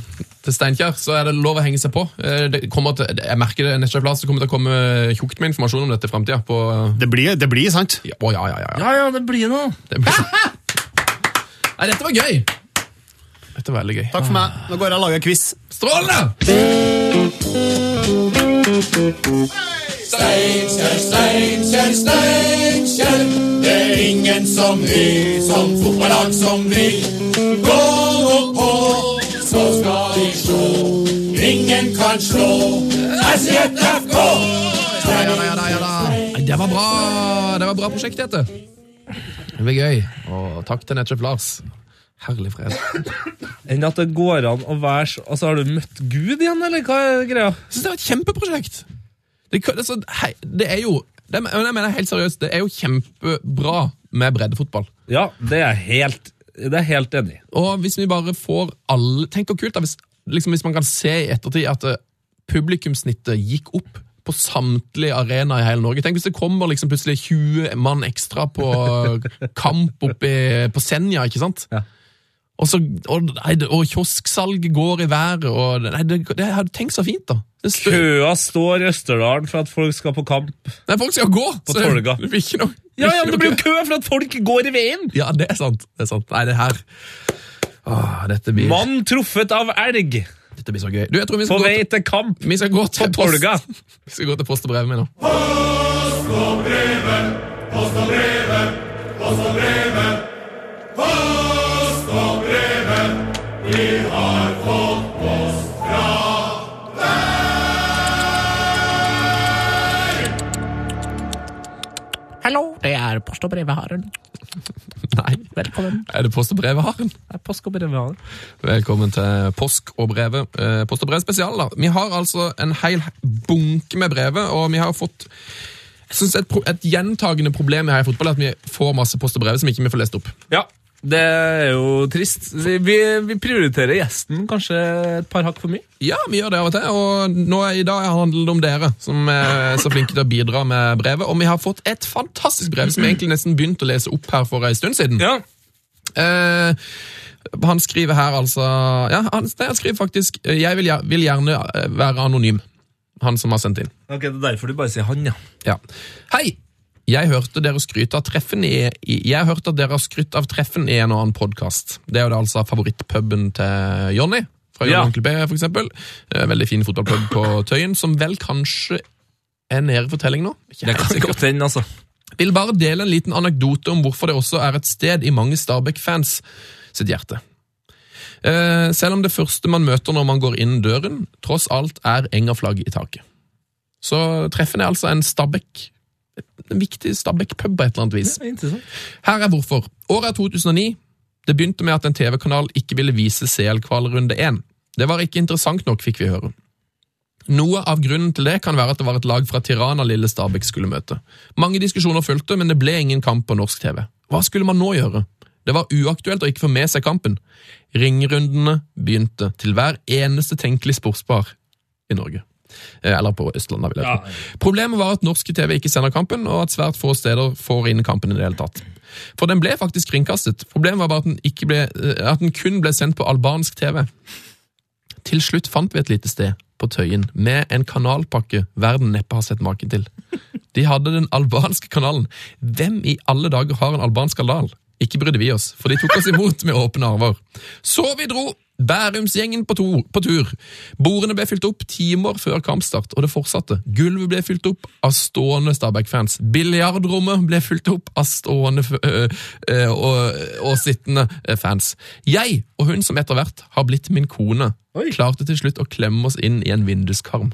S4: til Steinkjer, så er det lov å henge seg på. Eh, det kommer til, jeg merker det neste plass, det kommer til å komme tjukt med informasjon om dette i fremtiden. På,
S5: Det blir, det blir, sant?
S4: ja, å, ja, ja, ja. ja.
S3: Ja, ja, det blir noe.
S4: Det blir... sånn. Nei, dette var gøy! Dette var veldig gøy.
S5: Takk for meg. Nå går jeg og lager quiz.
S4: Strålende!
S6: Steinkjer, Steinkjer, Steinkjer. Det er ingen som vi, som fotballag som vi. Gå nå på, så skal vi slå. Ingen kan slå SJFK.
S4: Nei, Det var bra, det var bra prosjekt, dette. Det var gøy. Og takk til Netchef Lars. Herlig fred.
S3: Enn at det går an å være så Altså, har du møtt Gud igjen, eller hva er greia?
S4: Jeg synes det var et kjempeprosjekt. Det, kan- altså, hei, det er jo det, men jeg mener helt seriøst, det er jo kjempebra med breddefotball.
S3: Ja, det er jeg helt, det er jeg helt enig i.
S4: Og hvis vi bare får alle Tenk hvor kult da, hvis, liksom, hvis man kan se i ettertid at eh, publikumssnittet gikk opp på samtlige arenaer i hele Norge. Tenk hvis det kommer liksom plutselig 20 mann ekstra på eh, kamp oppe på Senja, ikke sant?
S3: Ja.
S4: Og, så, og, nei, det- og kiosksalget går i været, og nei, det, det, tenk så fint, da. Det stø-
S3: Køa står i Østerdalen for at folk skal på kamp.
S4: Nei, folk skal gå! På
S3: Tolga.
S4: Det blir ikke noe,
S3: Ja, ja,
S4: ikke
S3: men det blir
S4: noe
S3: jo kø for at folk går i veien!
S4: kø. Ja, det er sant. Det er sant. Nei, det her Åh, dette blir,
S3: Mann truffet av elg
S4: dette blir så gøy. Du, jeg tror vi
S3: på
S4: skal,
S3: vei
S4: gå,
S3: til kamp
S4: vi skal gå til
S3: på Tolga.
S4: post. Vi skal gå til post og brevet mitt nå.
S6: Post og brevet, post og brevet, post og brevet. Post og brevet, vi har fått post fra
S7: Det er post og brevharen.
S4: Nei.
S7: Velkommen.
S4: Er det Post og brev har den?
S3: Det er Post og brevharen.
S4: Velkommen til Påsk og brevet. Eh, Post og brev spesial, da. Vi har altså en hel bunke med brevet, og vi har fått jeg synes et, pro et gjentagende problem her i fotball er at vi får masse post og brev som ikke vi får lest opp.
S3: Ja, det er jo trist. Vi, vi prioriterer gjesten kanskje et par hakk for mye.
S4: Ja, vi gjør det av og til, og nå er, i dag handler det om dere som er så flinke til å bidra med brevet. Og vi har fått et fantastisk brev som vi egentlig nesten begynte å lese opp her for en stund siden.
S3: Ja.
S4: Eh, han skriver her altså Ja, han, nei, han skriver faktisk eh, Jeg vil, gjer- vil gjerne eh, være anonym. Han som har sendt inn.
S3: Ok, Det er derfor du bare sier han, ja.
S4: Ja. Hei! Jeg hørte dere skryte av treffen i, i Jeg hørte at dere har skrytt av treffen i en og annen podkast. Det er jo da altså favorittpuben til Jonny. Fra Jonny
S3: Ja.
S4: Onkel B, for eksempel. Eh, Veldig fin fotballpub på Tøyen, som vel kanskje er nede for telling nå. Ikke
S3: Det
S4: helt
S3: kan
S4: sikker.
S3: godt hende, altså.
S4: Vil bare dele en liten anekdote om hvorfor det også er et sted i mange Stabæk-fans sitt hjerte. Eh, selv om det første man møter når man går inn døren, tross alt er Enger-flagg i taket. Så treffen er altså en Stabæk en viktig Stabæk-pub på et eller annet vis.
S3: Interessant.
S4: Her er hvorfor. Året er 2009. Det begynte med at en TV-kanal ikke ville vise CL-kvalrunde 1. Det var ikke interessant nok, fikk vi høre. Noe av grunnen til det kan være at det var et lag fra Tirana lille Stabæk skulle møte. Mange diskusjoner fulgte, men det ble ingen kamp på norsk TV. Hva skulle man nå gjøre? Det var uaktuelt å ikke få med seg kampen. Ringrundene begynte til hver eneste tenkelig sportsbar i Norge. Eh, Eller på Østlandet, vil jeg tro. Problemet var at norske TV ikke sender kampen, og at svært få steder får inn kampen i det hele tatt. For den ble faktisk kringkastet. Problemet var bare at den, ikke ble, eh, at den kun ble sendt på albansk TV. Til slutt fant vi et lite sted på Tøyen med en kanalpakke verden neppe har sett maken til. De hadde den albanske kanalen. Hvem i alle dager har en albansk kanal? Ikke brydde vi oss, for de tok oss imot med åpne armer. Så vi dro! Bærumsgjengen på, to, på tur. Bordene ble fylt opp timer før kampstart, og det fortsatte. Gulvet ble fylt opp av stående Stabæk-fans. Biljardrommet ble fylt opp av stående f- øh, øh, og, og sittende øh, fans. Jeg og hun som etter hvert har blitt min kone, klarte til slutt å klemme oss inn i en vinduskarm.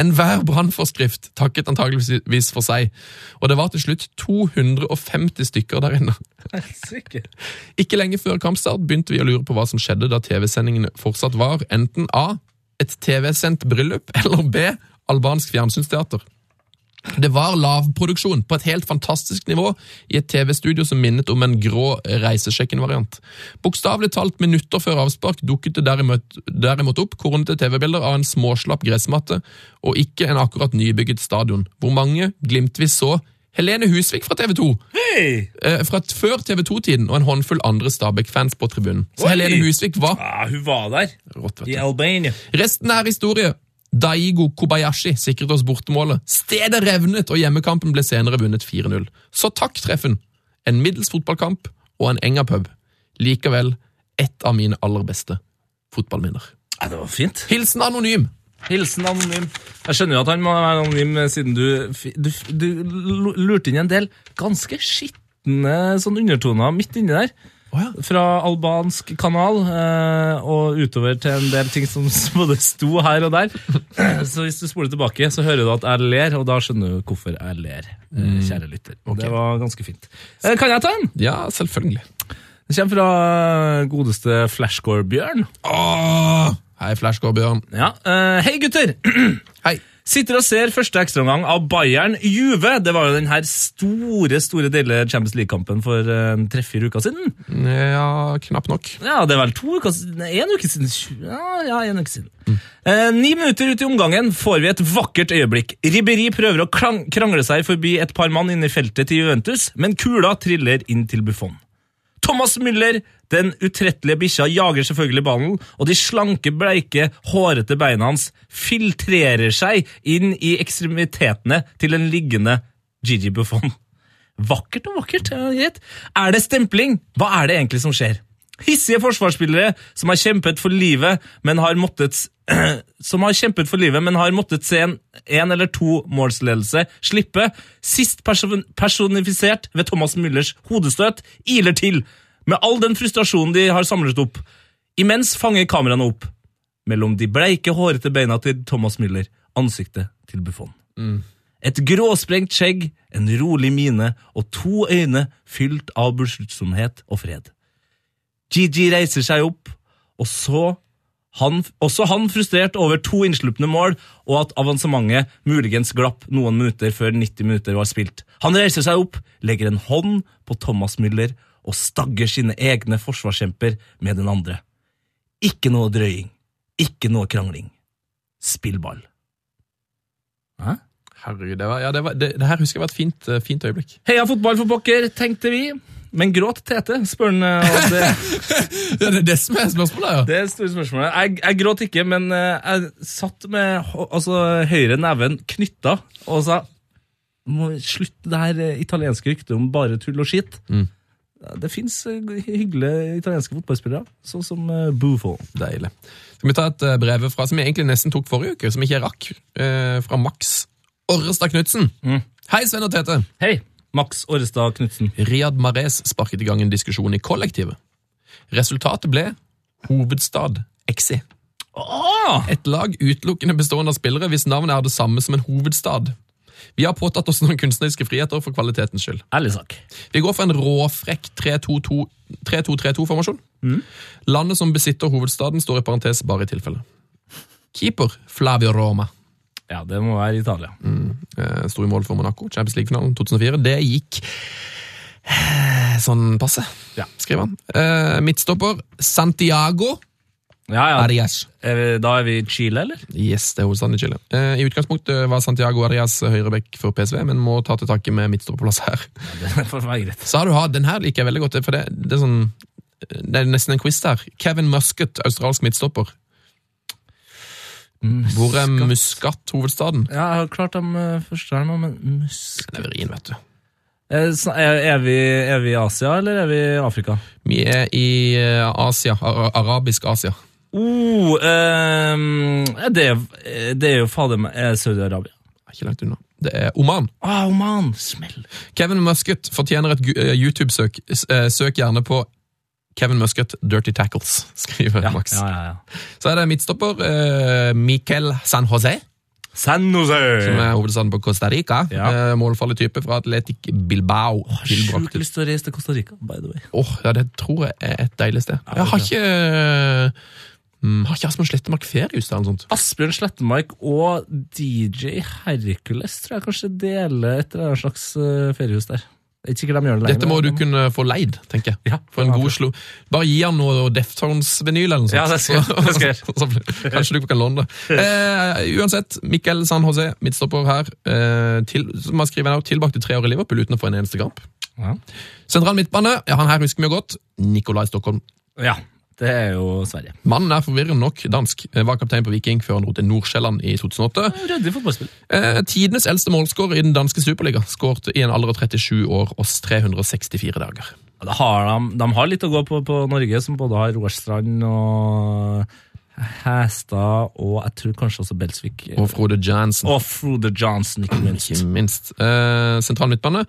S4: Enhver brannforskrift takket antageligvis for seg, og det var til slutt 250 stykker der inne. Ikke lenge før kampstart begynte vi å lure på hva som skjedde da TV-sendingene fortsatt var enten A. Et TV-sendt bryllup, eller B. Albansk fjernsynsteater. Det var lavproduksjon på et helt fantastisk nivå i et TV-studio som minnet om en grå reisesjekken-variant. Bokstavelig talt minutter før avspark dukket det derimot, derimot opp kornete TV-bilder av en småslapp gressmatte og ikke en akkurat nybygget stadion, hvor mange glimtvis så Helene Husvik fra TV 2, Eh, fra t- før TV 2-tiden, og en håndfull andre Stabæk-fans på tribunen. Så
S3: Oi!
S4: Helene Husvik var
S3: Ja, hun var der.
S4: rått, vet du.
S3: I Albania.
S4: Resten er historie. Daigo Kobayashi sikret oss bortemålet. Stedet revnet, og hjemmekampen ble senere vunnet 4-0. Så takk, treffen. En middels fotballkamp og en Enga-pub. Likevel et av mine aller beste fotballminner.
S3: Ja, det var fint.
S4: Hilsen anonym.
S3: Hilsen anonym. Jeg skjønner jo at han må være anonym, eh, siden du, fi- du, f- du lu- lurte inn en del ganske skitne sånn undertoner midt inni der. Fra albansk kanal eh, og utover til en del ting som s- både sto her og der. Eh, Så hvis du spoler tilbake, så hører du at jeg ler, og da skjønner du hvorfor jeg ler. eh, Kjære lytter. Det var ganske fint. Eh, Kan jeg ta en?
S4: Ja, selvfølgelig.
S3: Det kommer fra eh, godeste Flashgore-Bjørn.
S4: Åh! Hei, Flashgård Bjørn.
S3: Ja. eh, Hei, gutter!
S4: Hei.
S3: Sitter og ser første ekstraomgang av Bayern Juve. Det var jo den her store store deilige Champions League-kampen for eh, en tre-fire uker siden.
S4: Mm, Ja, knapt nok.
S3: Ja, det er vel to uker siden Én uke siden. tjue- Ja, ja en uke siden. Eh, ni minutter ut i omgangen får vi et vakkert øyeblikk. Ribberi prøver å klang- krangle seg forbi et par mann inne i feltet til Juventus, men kula triller inn til Buffon. Thomas Müller, den utrettelige bikkja, jager selvfølgelig ballen, og de slanke, bleike, hårete beina hans filtrerer seg inn i ekstremitetene til en liggende Gigi Buffon. Vakkert og vakkert. ja, greit. Er det stempling? Hva er det egentlig som skjer? Hissige forsvarsspillere som har kjempet for livet, men har måttet som har kjempet for livet, men har måttet se en, en eller to målsledelse slippe, sist perso- personifisert ved Thomas Müllers hodestøt, iler til, med all den frustrasjonen de har samlet opp. Imens fanger kameraene opp, mellom de bleike, hårete beina til Thomas Müller, ansiktet til Buffon. Et gråsprengt skjegg, en rolig mine og to øyne fylt av besluttsomhet og fred. Gigi reiser seg opp, og så han, også han frustrert over to innslupne mål, og at avansementet muligens glapp noen minutter før 90 minutter var spilt. Han reiser seg opp, legger en hånd på Thomas Müller og stagger sine egne forsvarskjemper med den andre. Ikke noe drøying. Ikke noe krangling. Spill ball.
S4: Herregud, det, var, ja, det, var, det, det her husker jeg var et fint, eh, fint øyeblikk.
S3: Heia fotball for pokker, tenkte vi. Men gråt Tete, spør han. eh, og Det,
S4: Ja, det er det som er spørsmålet, ja.
S3: det er det store spørsmålet. Jeg, jeg gråt ikke, men eh, jeg satt med hå- altså, høyre neven knytta og sa må Slutt det her eh, italienske ryktet om bare tull og skitt. Ja, Det fins hyggelige italienske fotballspillere, sånn som eh, Buffon.
S4: Deilig. Skal vi ta et eh, brev fra som jeg egentlig nesten tok forrige uke, som ikke jeg rakk, eh, fra Max Orrestad Knutsen. Hei, Sven og Tete.
S3: Hei! Max Årestad Knutsen.
S4: Riyad Mahrez sparket i gang en diskusjon i kollektivet. Resultatet ble hovedstad Exi. Et lag utelukkende bestående av spillere hvis navnet er det samme som en hovedstad. Vi har påtatt oss noen kunstneriske friheter for kvalitetens skyld.
S3: Ærlig sak.
S4: Vi går for en råfrekk 3-2-3-2-formasjon. Landet som besitter hovedstaden står i parentes bare i tilfelle. Keeper Flavio Roma
S3: Ja, det må være Italia.
S4: eh, sto i mål for Monaco, Champions League-finalen 2004. Det gikk eh, sånn passe,
S3: Ja.
S4: skriver han. Eh, midtstopper Santiago
S3: Ja, ja.
S4: Arias.
S3: Er vi, da er vi i Chile, eller?
S4: Yes, det er hovedstaden i Chile. Eh, I utgangspunktet var Santiago Arias høyrebekk for PSV, men må ta til takke med midtstopperplass her.
S3: Det får være greit.
S4: Så har du hatt, den her liker jeg veldig godt, for det, det er sånn det er nesten en quiz der. Kevin Muscat, australsk midtstopper. Hvor er Muscat hovedstaden?
S3: Ja, jeg har klart de eh, første her nå, men musk...
S4: Det er vrien, vet du.
S3: Eh, sn- Er, er, vi, er vi i Asia, eller er vi i Afrika?
S4: Vi er i eh, Asia, Ara- arabisk Asia.
S3: Oh, ehm, ja, det, er- eh, det er jo fader meg eh, Saudi-Arabia.
S4: er ikke langt unna. Det er Oman.
S3: Au, mann! Smell!
S4: Kevin Musket fortjener et gu- eh, YouTube-søk. S- eh, Søk gjerne på Kevin Musket Dirty Tackles, skriver Max.
S3: Ja, ja, ja.
S4: Så er det midtstopper eh, Miquel San José,
S3: San
S4: som
S3: Jose!
S4: er hovedstaden på Costa Rica.
S3: Ja.
S4: Eh, Målfarlig type fra Atletic Bilbao.
S3: Sjukt
S4: Tilbrakte-
S3: lyst til å reise til Costa Rica, by the way.
S4: Åh, ja, Det tror jeg er et deilig sted.
S3: det
S4: Jeg har
S3: tror
S4: ikke eh, mm, Har ikke Asmund Slettemark feriehus der? eller noe sånt?
S3: Asbjørn Slettemark og DJ Hercules tror jeg kanskje deler et eller annet slags eh, feriehus der. Det er ikke sikkert de gjør det lenger.
S4: Dette må
S3: men-
S4: du kunne få leid, tenker jeg.
S3: Ja,
S4: For en god slo. Bare gi han noe Deftones-vinyl eller noe sånt.
S3: Ja, det skal jeg- det skal
S4: Så-
S3: jeg.
S4: så- Kanskje du kan låne det. Eh, uansett, Mikkel San José, midtstopper her, eh, til, som har skrivet ned, tilbrakte tre år i Liverpool uten å få en eneste kamp.
S3: Ja.
S4: Sentral midtbane, ja, han her husker vi jo godt. Nikolai Stockholm.
S3: Ja, det er jo Sverige.
S4: Mannen er forvirrende nok dansk. eh, Var kaptein på Viking før han dro til Nordsjælland i 2008.
S3: Ryddig fotballspill.
S4: Eh, tidenes eldste målskårer i den danske superliga. Skåret i en alder av 37 år og 364 dager.
S3: Ja, det har de, de har litt å gå på på Norge, som både har Roarstrand og Hæstad og jeg tror kanskje også Belsvik.
S4: Og Frode Jansen.
S3: Og Frode Johnson, ikke minst.
S4: Ikke minst. Eh, sentral midtbane.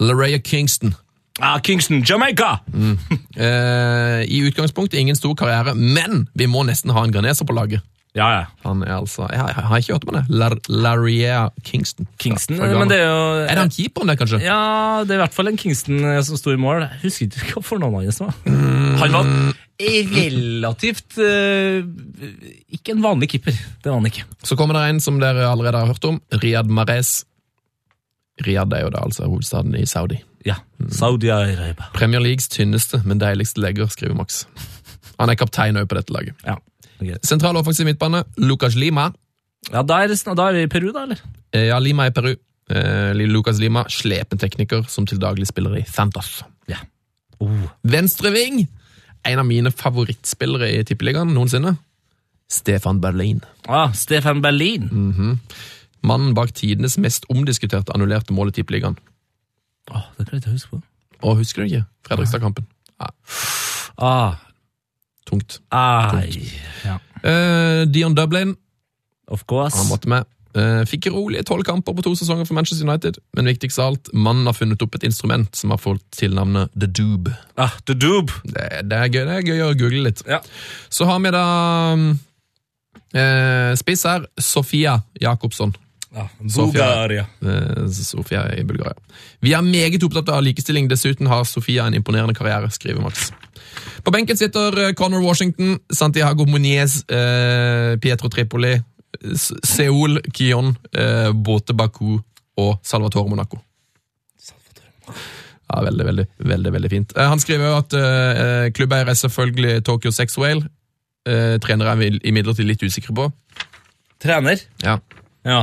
S4: Larea Kingston.
S3: Ah, Kingston, Jamaica!
S4: Eh, I utgangspunktet ingen stor karriere, men vi må nesten ha en graneser på laget.
S3: Ja, ja.
S4: Han er altså Jeg har, jeg har ikke hørt om han, jeg. Lar Larea Kingston.
S3: Kingston,
S4: Fra- fra Ghana.
S3: men det er jo
S4: Er det han keeperen der, kanskje?
S3: Ja, det er i hvert fall en Kingston eh, som sto i mål. Jeg husker ikke hva fornavnet hans var. Han var relativt eh, Ikke en vanlig keeper. Det var han ikke.
S4: Så kommer det en som dere allerede har hørt om. Riyad Mahrez. Riyad er jo da altså hovedstaden i Saudi.
S3: Ja. Saudi-Arabia.
S4: Premier Leagues tynneste, men deiligste legger, skriver Max. Han er kaptein òg på dette laget.
S3: Ja. ok.
S4: Sentral offensiv midtbane, Lucas Lima.
S3: ja, da er, det sn- da er vi i Peru, da, eller?
S4: Eh, Ja, Lima i Peru. Eh, Lucas Lima, slepen tekniker som til daglig spiller i Santos.
S3: Ja. Oh.
S4: Venstreving! En av mine favorittspillere i Tippeligaen noensinne. Stefan Berlin.
S3: Ah, Stefan Berlin.
S4: Mannen bak tidenes mest omdiskuterte annullerte mål i Tippeligaen.
S3: Åh, det klarte jeg å huske på.
S4: Og husker du ikke? Fredrikstad-kampen.
S3: Ah,
S4: Tungt.
S3: ai. Ja.
S4: Eh, Dion Dublin,
S3: Of course.
S4: han måtte med. Eh, fikk rolige tolv kamper på to sesonger for Manchester United, men viktigst av alt, mannen har funnet opp et instrument som har fått tilnavnet The Doob.
S3: Ah, the Doob.
S4: Det, det, er gøy, det er gøy å google litt.
S3: Ja.
S4: Så har vi da mm, eh, spiss her. Sofia Jacobsson.
S7: Ja,
S4: Bulgaria.
S7: Bulgaria.
S4: Eh, Sofia i Bulgaria. Vi er meget opptatt av likestilling. Dessuten har Sofia en imponerende karriere, skriver Max. På benken sitter eh, Conor Washington, Santiago Muniz, eh, Pietro Tripoli, S- Seoul, Kion, eh, Bote Baku og Salvatore Monaco. Ja, Veldig, veldig veldig, veldig fint. Eh, han skriver jo at eh, eh, klubbeier er selvfølgelig Tokyo Sex Whale. Eh, trenere er vi imidlertid litt usikre på.
S3: Trener?
S4: Ja,
S3: Ja.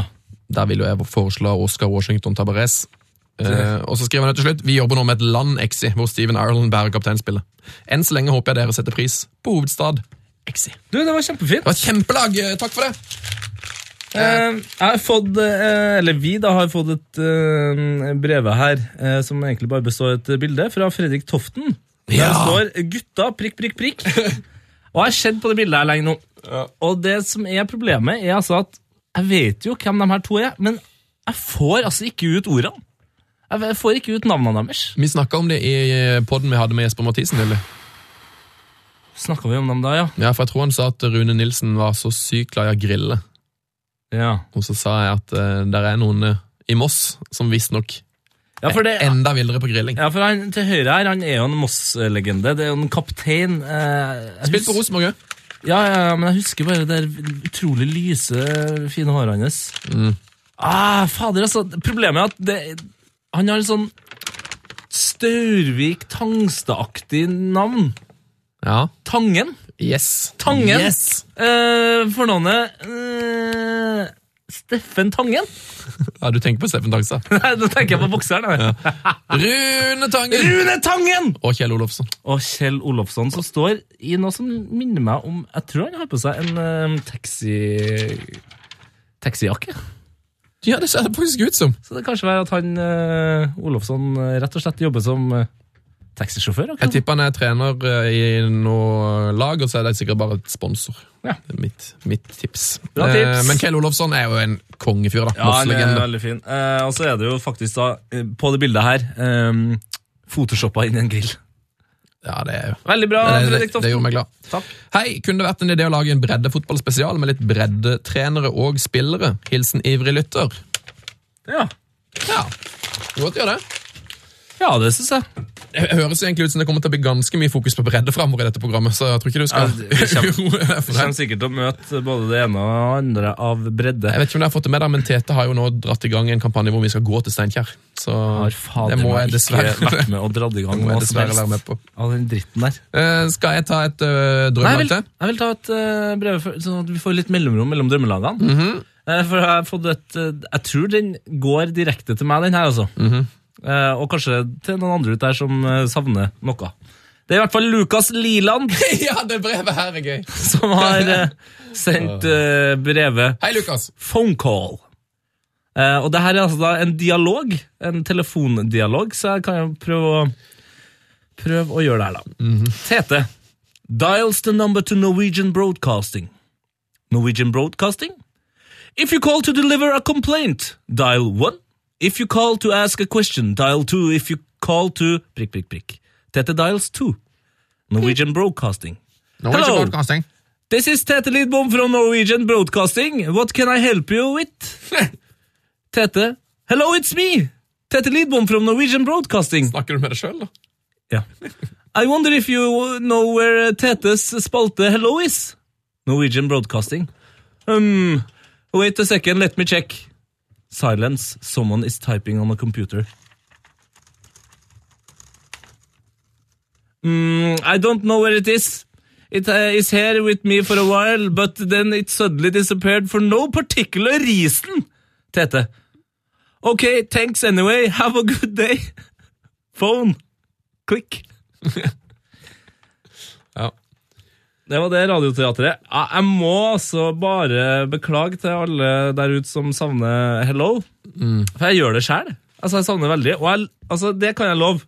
S4: der vil jo jeg foreslå Oscar Washington Tabarez. Eh, og så skriver han til slutt Vi jobber nå med et land exi hvor Steven Ireland bærer kapteinspillet. Enn så lenge håper jeg dere setter pris på hovedstad exi. Det
S3: Du, det var kjempefint.
S4: var et kjempelag! eh, Takk for det!
S3: Eh, jeg har fått, eh, eller vi da har fått et eh, brev her eh, som egentlig bare består av et bilde fra Fredrik Toften. Der
S4: Ja.
S3: det står 'gutta prikk, prikk, prikk'. Og jeg har sett på det bildet her lenge nå. Og det som er problemet, er altså at jeg vet jo hvem de her to er, men jeg får altså ikke ut ordene. Jeg jeg får ikke ut navnene deres.
S4: Vi snakka om det i eh, podden vi hadde med Jesper Mathisen. Eller?
S3: Snakka vi om dem da, ja?
S4: Ja, for Jeg tror han sa at Rune Nilsen var så sykt glad i å grille.
S3: Ja,
S4: Og så sa jeg at eh, der er noen eh, i Moss som visstnok
S3: ja for det...
S4: er enda villere på grilling.
S3: Ja, for han til høyre her, han er jo en Moss-legende. Det er jo en kaptein. Eh, jeg
S4: Spilt på
S3: hus-
S4: Rosenborg òg.
S3: Ja, ja, ja, men jeg husker bare det der utrolig lyse, fine håret hans. Ah, fader, altså. Problemet er at det, han har en sånn Staurvik Tangstad-aktig navn.
S4: Ja.
S3: Tangen.
S4: Yes.
S3: Tangen.
S4: Yes.
S3: Eh, fornavnet eh, Steffen Tangen?
S4: Ja, du tenker på Steffen Tangstad.
S3: Nei, nå tenker jeg på bokseren. jeg.
S4: Rune Tangen!
S3: Rune Tangen!
S4: og Kjell Olofsson.
S3: og Kjell Olofsson som står i noe som minner meg om Jeg tror han har på seg en eh, taxi... taxijakke.
S4: Ja, det ser det faktisk ut som.
S3: Så det kan kanskje være at han eh, Olofsson eh, rett og slett jobber som eh,
S4: Jeg
S3: taxisjåfør. akkurat.
S4: tipper han er trener eh, i noe lag, og så er det sikkert bare et sponsor.
S3: Ja.
S4: Det er mitt, mitt tips.
S3: Bra tips.
S4: Eh, men Kjell Olofsson er jo en kongefyr, da.
S3: Ja, han er
S4: Moss-legende.
S3: veldig fin. Eh, og så er det jo faktisk da, eh, på det bildet her, eh, photoshoppa inn i en grill.
S4: Ja, det er jo
S3: Veldig bra,
S4: det, det,
S3: Fredrik
S4: det, det gjorde
S3: Toften.
S4: meg glad.
S3: Takk.
S4: Hei, kunne det vært en idé å lage en breddefotballspesial med litt breddetrenere og spillere? Hilsen ivrig lytter.
S3: Ja,
S4: Ja, godt gjør det.
S3: ja det syns jeg.
S4: Det høres egentlig ut som det kommer til å bli ganske mye fokus på bredde framover i dette programmet, så jeg tror ikke du skal
S3: Ja, det- vi
S4: uroe
S3: kommer-
S4: deg for
S3: Du
S4: det.
S3: kommer sikkert til å møte både det ene og det andre av bredde.
S4: Jeg vet ikke om dere har fått det med deg, men Tete har jo nå dratt i gang en kampanje hvor vi skal gå til Steinkjer. Så
S3: Har
S4: det
S3: fader
S4: må jeg
S3: meg ikke
S4: dessverre,
S3: vært med og dratt i
S4: det
S3: gang
S4: må
S3: hva
S4: jeg
S3: som
S4: dessverre
S3: helst
S4: være med på.
S3: av den dritten der.
S4: Eh, skal jeg ta et uh,
S3: Nei, jeg,
S4: drømmelag
S3: vil,
S4: til?
S3: jeg vil ta et eh, brev, for, sånn at vi får litt mellomrom mellom drømmelagene.
S4: Mhm.
S3: Eh, for jeg har fått et eh, Jeg tror den går direkte til meg, den her, altså.
S4: Mhm.
S3: Eh, og kanskje til noen andre ut der som eh, savner noe. Det er i hvert fall Lukas Liland
S4: ja, det brevet her er gøy.
S3: som har eh, sendt eh, brevet
S4: Hei, Lukas.
S3: phone call. Eh, og det her er altså da en dialog, en telefondialog, så jeg kan jo prøve å, prøve å gjøre det her, da. Tete. Dials the number to Norwegian Broadcasting. Norwegian Broadcasting? If you call to deliver a complaint, dial 1. If you call to ask a question, dial 2. If you call to prikk, prikk, prikk. Tete dials 2. Norwegian Broadcasting. Hello.
S4: Broadcasting.
S3: This is Tete Lidbom from Norwegian Broadcasting. What can I help you with? Tete. Hello, it's me, er Tete Lidbom from Norwegian Broadcasting.
S4: Snakker du med deg sjøl, da?
S3: Yeah. I wonder if you know where uh, Tetes spalte hello is? Norwegian Broadcasting. Um, wait a second, let me check. Silence. Someone is typing on a computer. Mm, I don't know where it is. It uh, is here with me for a while, but then it suddenly disappeared for no particular reason. Tete. Okay, thanks anyway. Have a good day. Phone. Klikk.
S4: Ja.
S3: Det var det Radioteatret. Ja, Jeg må altså bare beklage til alle der ute som savner Hello. For jeg gjør det sjøl. Altså, jeg savner veldig. Og jeg, altså, det kan jeg love.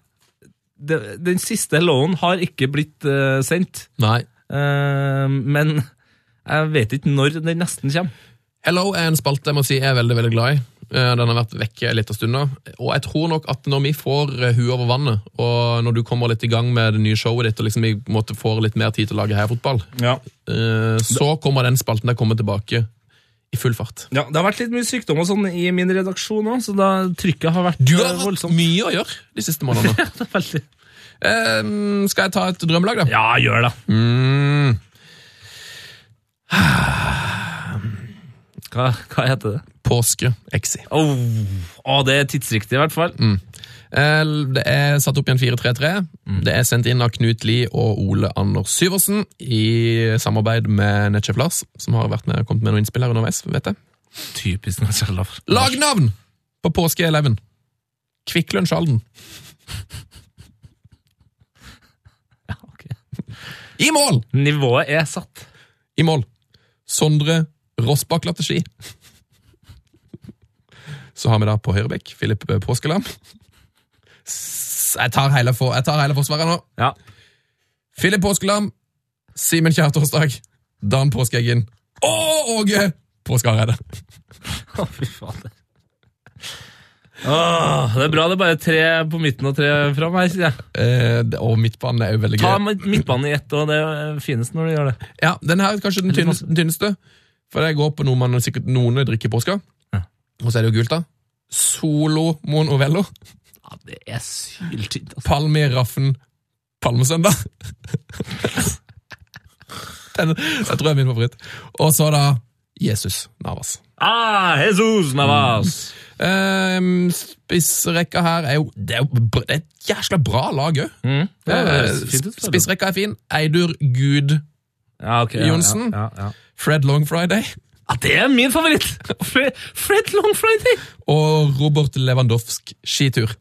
S3: Det- Den siste Helloen har ikke blitt eh, sendt.
S4: Nei.
S3: Eh, men jeg vet ikke når den nesten kommer.
S4: Hello er en spalte jeg må si jeg er veldig veldig glad i. Eh, Den har vært vekke en liten stund nå. Og jeg tror nok at når vi får eh, huet over vannet, og når du kommer litt i gang med det nye showet ditt, og liksom vi måtte får litt mer tid til å lage heiafotball,
S3: Ja.
S4: Eh, så kommer den spalten der kommer tilbake i full fart.
S3: Ja, Det har vært litt mye sykdom og sånn i min redaksjon òg, så da trykket har vært
S4: Du
S3: eh,
S4: har hatt
S3: voldsomt.
S4: mye å gjøre de siste månedene.
S3: Det er veldig-
S4: Eh, skal jeg ta et drømmelag, da?
S3: Ja, gjør det.
S4: Mm.
S3: Hva, hva heter det?
S4: Påske Exi.
S3: Å, å, det er tidsriktig, i hvert fall.
S4: Eh, Det er satt opp i en 4-3-3.
S3: Mm.
S4: Det er sendt inn av Knut Lie og Ole Anders Syversen i samarbeid med Netchef Lars, som har vært med og kommet med noen innspill her underveis. vet jeg.
S3: Typisk Natchalaf.
S4: Lagnavn på påske-eleven. Kvikk Lunsj Halden. I mål!
S3: Nivået er satt.
S4: I mål. Sondre Rossbakk Latteski. Så har vi da på høyrebekk Filip eh, Påskelam. S- Jeg tar hele, for, jeg tar hele forsvaret nå.
S3: Ja.
S4: Filip Påskelam, Simen Kjærtorsdag, Dan Påskeeggen og Åge Påskehareide.
S3: Å, fy fader. Åh, det er bra det er bare tre på midten og tre fram her, sier jeg.
S4: Eh, det- og midtbanen er jo veldig
S3: Ta
S4: gøy.
S3: mid- midtbanen i ett, og det er finest når du gjør det.
S4: Ja, Den her er kanskje den tynneste, den tynneste for det går på noe man sikkert noen drikker i påska.
S3: Ja.
S4: Og så er det jo gult, da. Solo Moen Ovello.
S3: Ja, det er syltynt, altså.
S4: Palme i raffen Palmesøndag. Den, jeg tror jeg er min favoritt. Og så da Jesus Navas.
S3: Ah, Jesus
S4: Mm.
S3: Navas!
S4: Ehm, spissrekka her er jo Det er, jo, br- det er et jæsla bra lag òg.
S3: Mm. Ja, det høres fint ut, føler jeg.
S4: spissrekka er fin. Eidur Gud
S3: Ja, ok, ja, ja,
S4: Johnsen.
S3: Ja, ja.
S4: Fred Longfriday
S3: Ja, det er min favoritt! Fred, Fred Long Friday!
S4: og Robert Lewandowsk skitur.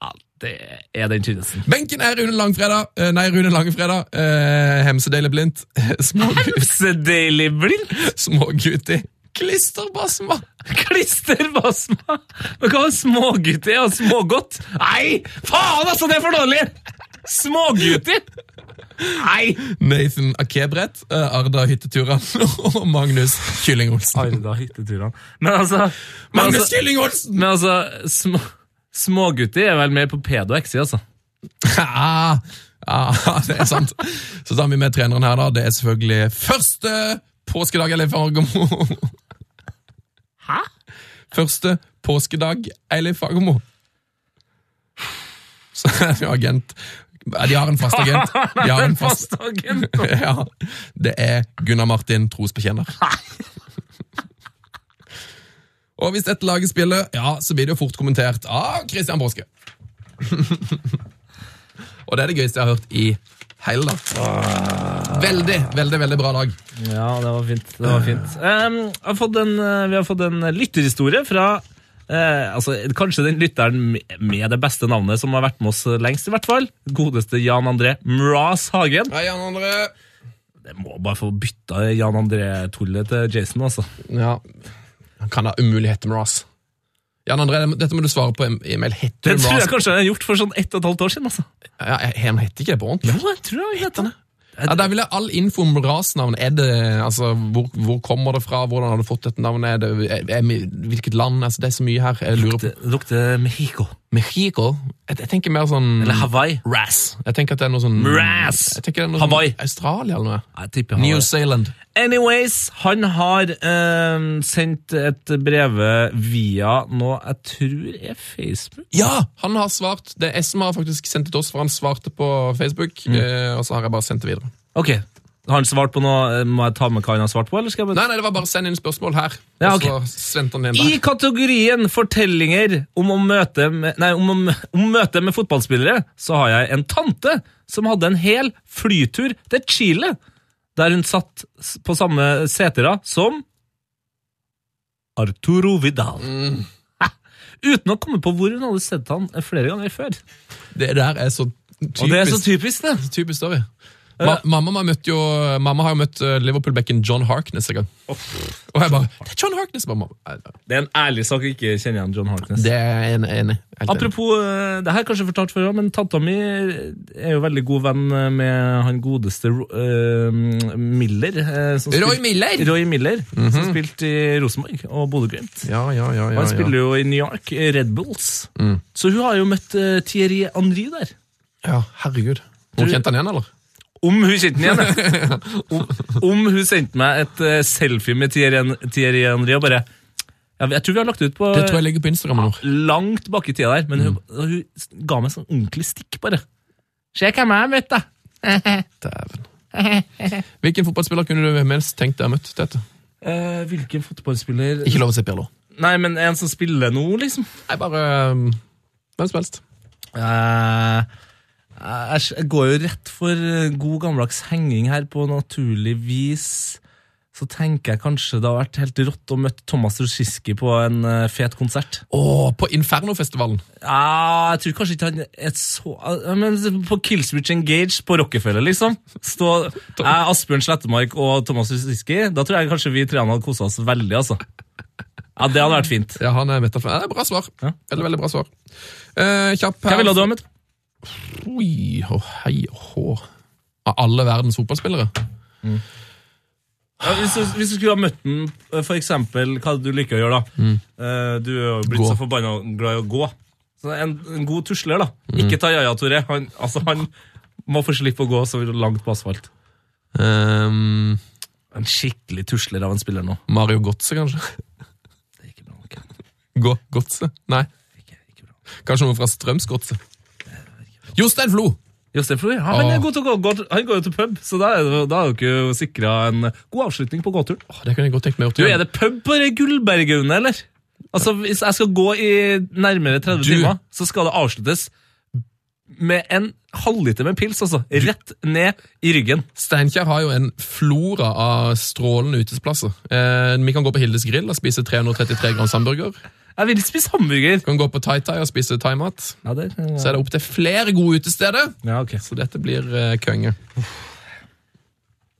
S3: Ja, det er den tynneste.
S4: Benken er Rune Langfredag. eh, Nei, Rune Langfredag. Eh, Hemsedeilig blindt. Småguti.
S3: Så deilig blind!
S4: Småguti. Klisterbasma.
S3: Klisterbasma! Men hva var smågutti og smågodt? Nei! Faen, altså, det er for dårlig! Smågutti! Nei!
S4: Nathan Akebret, eh, Arda Hytteturan og Magnus Kylling-Olsen.
S3: Arda hytteturene. Men altså Men
S4: Magnus
S3: altså,
S4: Kylling-Olsen!
S3: men altså små, Smågutti er vel mer på pedo og exi, altså.
S4: Ah, ah, det er sant. Så tar vi med treneren her, da. Det er selvfølgelig første påskedag Eilif Fagermo.
S3: Hæ?
S4: Første påskedag Eilif Fagermo. Så er det jo agent Ja, De har en fast agent. De har en fast
S3: Fastdagen!
S4: ja, det er Gunnar Martin Trosbekjenner. Og hvis dette laget spiller, ja, så blir det jo fort kommentert av Christian Påske. Og det er det gøyeste jeg har hørt i hele dag. Veldig, veldig veldig bra dag.
S3: Ja, det var fint. Det var fint. Em, jeg har fått en, eh, vi har fått en lytterhistorie fra eh, altså, kanskje den lytteren med- med det beste navnet som har vært med oss lengst, i hvert fall. Godeste Jan André Mraz Hagen.
S4: Hei, Jan André.
S3: Jeg må bare få bytta Jan André-tullet til Jason, altså.
S4: Ja, Han kan ha umuligheter med Ross. Jan André, det må- dette må du svare på i e-mail. Heter
S3: Det
S4: du
S3: tror jeg
S4: Ross?
S3: kanskje jeg har gjort for sånn ett og et halvt år siden, altså.
S4: Ja, he- han heter ikke det på ordentlig.
S3: Jo, jeg tror jeg heter det.
S4: Ja, Der vil jeg all info om rasnavn. Er det, altså, hvor, hvor kommer det fra? Hvordan har du fått dette navnet? Er det, er, er, hvilket land? Altså, det er så mye her. Jeg lurer på
S3: Det lukter Mexico.
S4: Mexico? Jeg, jeg tenker mer sånn
S3: Eller Hawaii.
S4: Ras. Jeg tenker at det er noe sånn
S3: Ras.
S4: Jeg tenker det er noe
S3: Hawaii.
S4: Sånn, Australia eller noe.
S3: Jeg tipper
S4: New
S3: Hawaii.
S4: Zealand.
S3: Anyways, han har eh, sendt et breve via noe jeg tror er Facebook.
S4: Ja! Han har svart. Det er jeg som har faktisk sendt det til oss, for han svarte på Facebook.
S3: Mm.
S4: Eh, og så har jeg bare sendt det videre.
S3: Ok, har han svart på noe? Eh, Må jeg ta med hva han har svart på? eller skal jeg bare...
S4: Nei, nei, det var bare send inn spørsmål her.
S3: Ja,
S4: Og så sendte han det inn
S3: I
S4: der. kategorien
S3: kategorien fortellinger om, å møte med, nei, om, å, om møte med fotballspillere, så har jeg en tante som hadde en hel flytur til Chile, der hun satt s- på samme setera som Arturo Vidal. Hæ? Uten å komme på hvor hun hadde sett han flere ganger før.
S4: Det der er så typisk.
S3: Og det er så typisk, det.
S4: Typisk story. Ma mamma, har møtt jo, mamma har jo møtt eh, Liverpool-bekken John Harkness en gang. Og jeg bare Det er John Harkness! Bare, mamma. Nei, nei,
S3: Det er en ærlig sak å ikke kjenne igjen John Harkness.
S4: Det er jeg enig- enig. Helt enig.
S3: Apropos, eh, det her kanskje jeg fortalt før, men tanta mi er jo veldig god venn eh, med han godeste Ro- eh, Miller. eh, som
S4: Roy
S3: spil-
S4: Miller! Mhm.
S3: Roy Miller, som spilte i Rosenborg og Bodø-Glimt.
S4: Ja, ja, ja.
S3: Og
S4: ja, Mm.
S3: han spiller
S4: ja.
S3: jo i New York, i Red Bulls. Så hun har jo møtt eh, Thierry Henry der.
S4: ja herregud. Hvor kjente han igjen, eller?
S3: om hun kjente den igjen. jeg. Om, om hun sendte meg et eh, selfie med Thierry Thierry Henry og bare jeg, jeg tror vi har lagt ut på
S4: Det tror jeg ligger på Instagram nå.
S3: langt bak i tida der, men hun, hun s- ga meg sånn ordentlig stikk, bare. Se hvem jeg møtte, da.
S4: Dæven. Hvilken fotballspiller kunne du mest tenkt deg å møtt? Tete?
S3: Eh, hvilken fotballspiller
S4: Ikke lov å si Pirlo.
S3: Nei, men en som spiller nå, liksom.
S4: Nei, bare um, hvem som helst.
S3: Eh, jeg s- jeg går jo rett for eh, god gammeldags henging her, på naturlig vis. Så tenker jeg kanskje det har vært helt rått å møte Thomas Roschiski på en eh, fet konsert.
S4: Å, på Infernofestivalen!
S3: Ja, Ah, jeg tror kanskje ikke han er så ja, Men på Killswitch Engage på Rockefeller, liksom. Stå jeg, Asbjørn Slettemark og Thomas Rosiski. Da tror jeg kanskje vi treene hadde kosa oss veldig, altså. Ja, det hadde vært fint.
S4: Ja, han er metal. Ja, det er bra svar.
S3: Ja.
S4: Veldig, veldig bra svar. Eh, kjapp her.
S3: Hva ville du ha møtt?
S4: Oi, å, hei, å, hå. Av alle verdens fotballspillere?
S3: Ja, hvis, du, hvis du skulle ha møtt den, for eksempel, hva er det du liker å gjøre da? Eh, Du er jo blitt
S4: Gå.
S3: så forbanna glad i å gå. Så en, en god tusler, da. Ikke ta Yaya Toré. Han, altså, han må få slippe å gå så langt på asfalt.
S4: Ehm,
S3: En skikkelig tusler av en spiller nå.
S4: Mario Gotze, kanskje?
S3: Det er ikke bra nok.
S4: Gå, Gotze? Nei,
S3: Ikke, ikke bra.
S4: kanskje noe fra Strømsgodset? Jostein Flo!
S3: Jostein Flo, ja, han er
S4: Åh.
S3: god til å gå, går, han går jo til pub, så da er, det- da er dere sikra en god avslutning på gåturen.
S4: Å, det kunne jeg godt tenkt meg å gjort
S3: Du,
S4: igjen.
S3: Er det pub på det Gullberghaugene, eller? Altså, Hvis jeg skal gå i nærmere 30
S4: Du-
S3: timer, så skal det avsluttes med en halvliter med pils, altså. Rett ned i ryggen.
S4: Steinkjer har jo en flora av strålende utesplasser. Eh, vi kan gå på Hildes grill og spise 333 grams hamburger. Vi
S3: Jeg vil spise hamburger.
S4: kan gå på Tai Tai og spise thaimat.
S3: Ja, der,
S4: Så er det opptil flere gode utesteder.
S3: ja, ok.
S4: Så dette blir eh, kønge.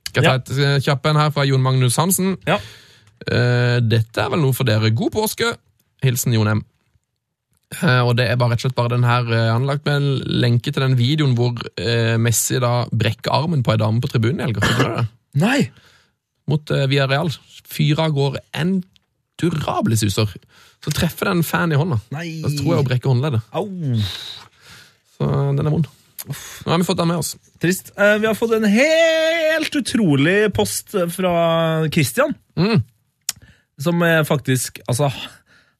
S4: Skal
S3: Ja.
S4: jeg ta et eh, kjapp en her fra Jon Magnus Hansen?
S3: Ja.
S4: Eh, dette er vel noe for dere. God påske! Hilsen Jon M. Eh, og det er bare rett og slett bare den her eh, Han har lagt med en lenke til den videoen hvor eh, Messi da brekker armen på ei dame på tribunen i helga. Fikk du med deg det?
S3: Nei!
S4: mot eh, Villarreal. Fyra går en durable suser. Så treffer den fan i hånda.
S3: Nei.
S4: Da tror jeg hun brekker håndleddet.
S3: Au!
S4: Så den er vond. Nå har vi fått den med oss.
S3: Trist. Eh, Vi har fått en helt utrolig post fra Christian.
S4: Mm.
S3: Som er faktisk Altså,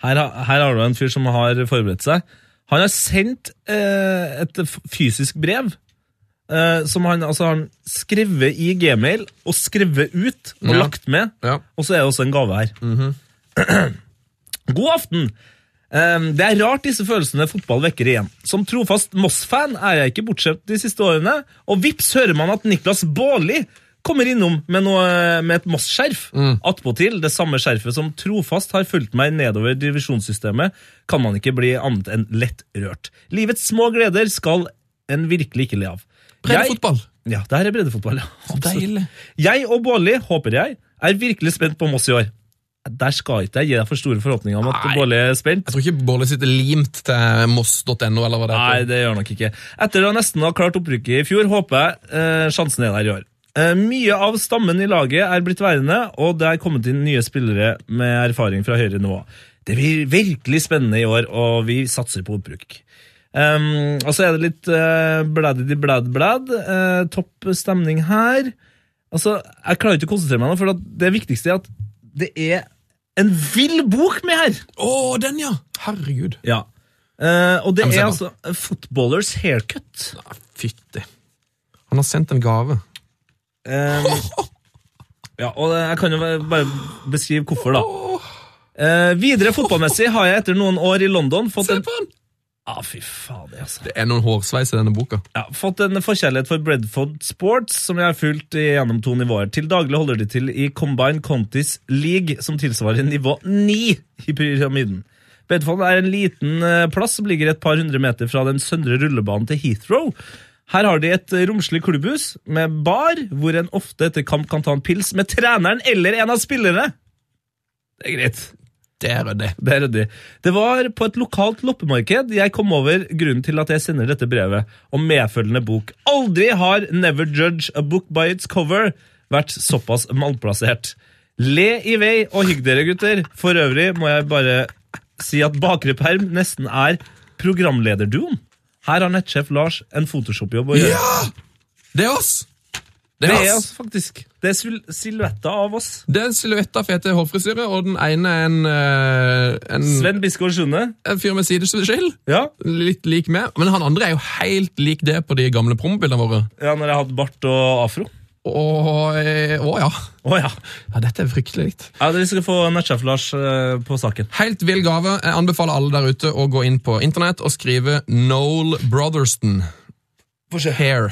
S3: her, har- her har du en fyr som har forberedt seg. Han har sendt eh, et f- fysisk brev. eh, som han altså har skrevet i gmail og skrevet ut og
S4: Ja.
S3: lagt med.
S4: Ja. Mhm.
S3: Og så er det også en gave her. God aften! Ehm, Det er rart disse følelsene fotball vekker igjen. Som trofast Moss-fan er jeg ikke bortskjemt de siste årene, og vips hører man at Niklas Baarli kommer innom med, noe, med et Moss-skjerf.
S4: Mm.
S3: Attpåtil det samme skjerfet som trofast har fulgt meg nedover divisjonssystemet, kan man ikke bli annet enn lett rørt. Livets små gleder skal en virkelig ikke le av. Jeg-
S4: Breddefotball.
S3: Ja, det her er breddefotball. ja. Absolutt.
S4: Deilig.
S3: Jeg og Bårli, håper jeg, er virkelig spent på Moss i år. Der skal ikke jeg gi deg for store forhåpninger om at
S4: Nei.
S3: Bårli er spent.
S4: Jeg tror ikke Bårli sitter limt til moss.no, eller hva det
S3: Nei,
S4: heter.
S3: det gjør han nok ikke. Etter å nesten ha klart opprykket i fjor, håper jeg eh, sjansen er der i år. Eh, mye av stammen i laget er blitt værende, og det er kommet inn nye spillere med erfaring fra høyere nivå. Det blir virkelig spennende i år, og vi satser på opprykk. Ehm, og så er det litt uh, bladidi-blad-blad. eh, topp stemning her. Altså, Jeg klarer ikke å konsentrere meg nå, for at det viktigste er at det er en vill bok med her!
S4: Å, den, ja! Herregud.
S3: Ja. Eh, og det
S4: men se
S3: er
S4: nå.
S3: altså Footballers haircut.
S4: Ja, Fytti. Han har sendt en gave.
S3: Eh, ja, og jeg kan jo bare beskrive hvorfor, da. Eh, videre fotballmessig har jeg etter noen år i London fått
S4: Se
S3: en
S4: på den!
S3: ah, fy faen, det, altså.
S4: Det er noen hårsveis i denne boka.
S3: ja, fått en forkjærlighet for Bredford Sports, som jeg har fulgt gjennom to nivåer. Til daglig holder de til i Combined Contis League, som tilsvarer nivå 9 i pyramiden. Bredford er en liten eh, plass som ligger et par hundre meter fra den søndre rullebanen til Heathrow. Her har de et eh, romslig klubbhus med bar, hvor en ofte etter kamp kan ta en pils med treneren eller en av spillerne. Det er greit.
S4: Det er det.
S3: Det er ryddig. Det var på et lokalt loppemarked jeg kom over grunnen til at jeg sender dette brevet om medfølgende bok. Aldri har Never Judge a Book by its cover vært såpass malplassert. Le i vei og hygg dere, gutter. For øvrig må jeg bare si at Bakre perm nesten er programlederduoen. Her har nettsjef Lars en Photoshop-jobb å gjøre.
S4: Det er oss! Det
S3: Det
S4: er
S3: er
S4: oss.
S3: oss, faktisk. Det er sil silhuetter av oss.
S4: Det er silhuetter, fete hårfrisyre, og den ene er en, eh, en,
S3: Sven Biskår Sunde.
S4: en fyr med sideskill.
S3: Ja.
S4: Litt lik meg. Men han andre er jo helt lik det på de gamle prombildene våre.
S3: ja, når jeg hadde bart og afro.
S4: Å eh, å, ja.
S3: Å ja.
S4: ja. Dette er fryktelig likt.
S3: ja. Vi skal få nettsjef Lars eh, på saken.
S4: Helt vill gave. Jeg anbefaler alle der ute å gå inn på internett og skrive Noel Brotherston. Hair.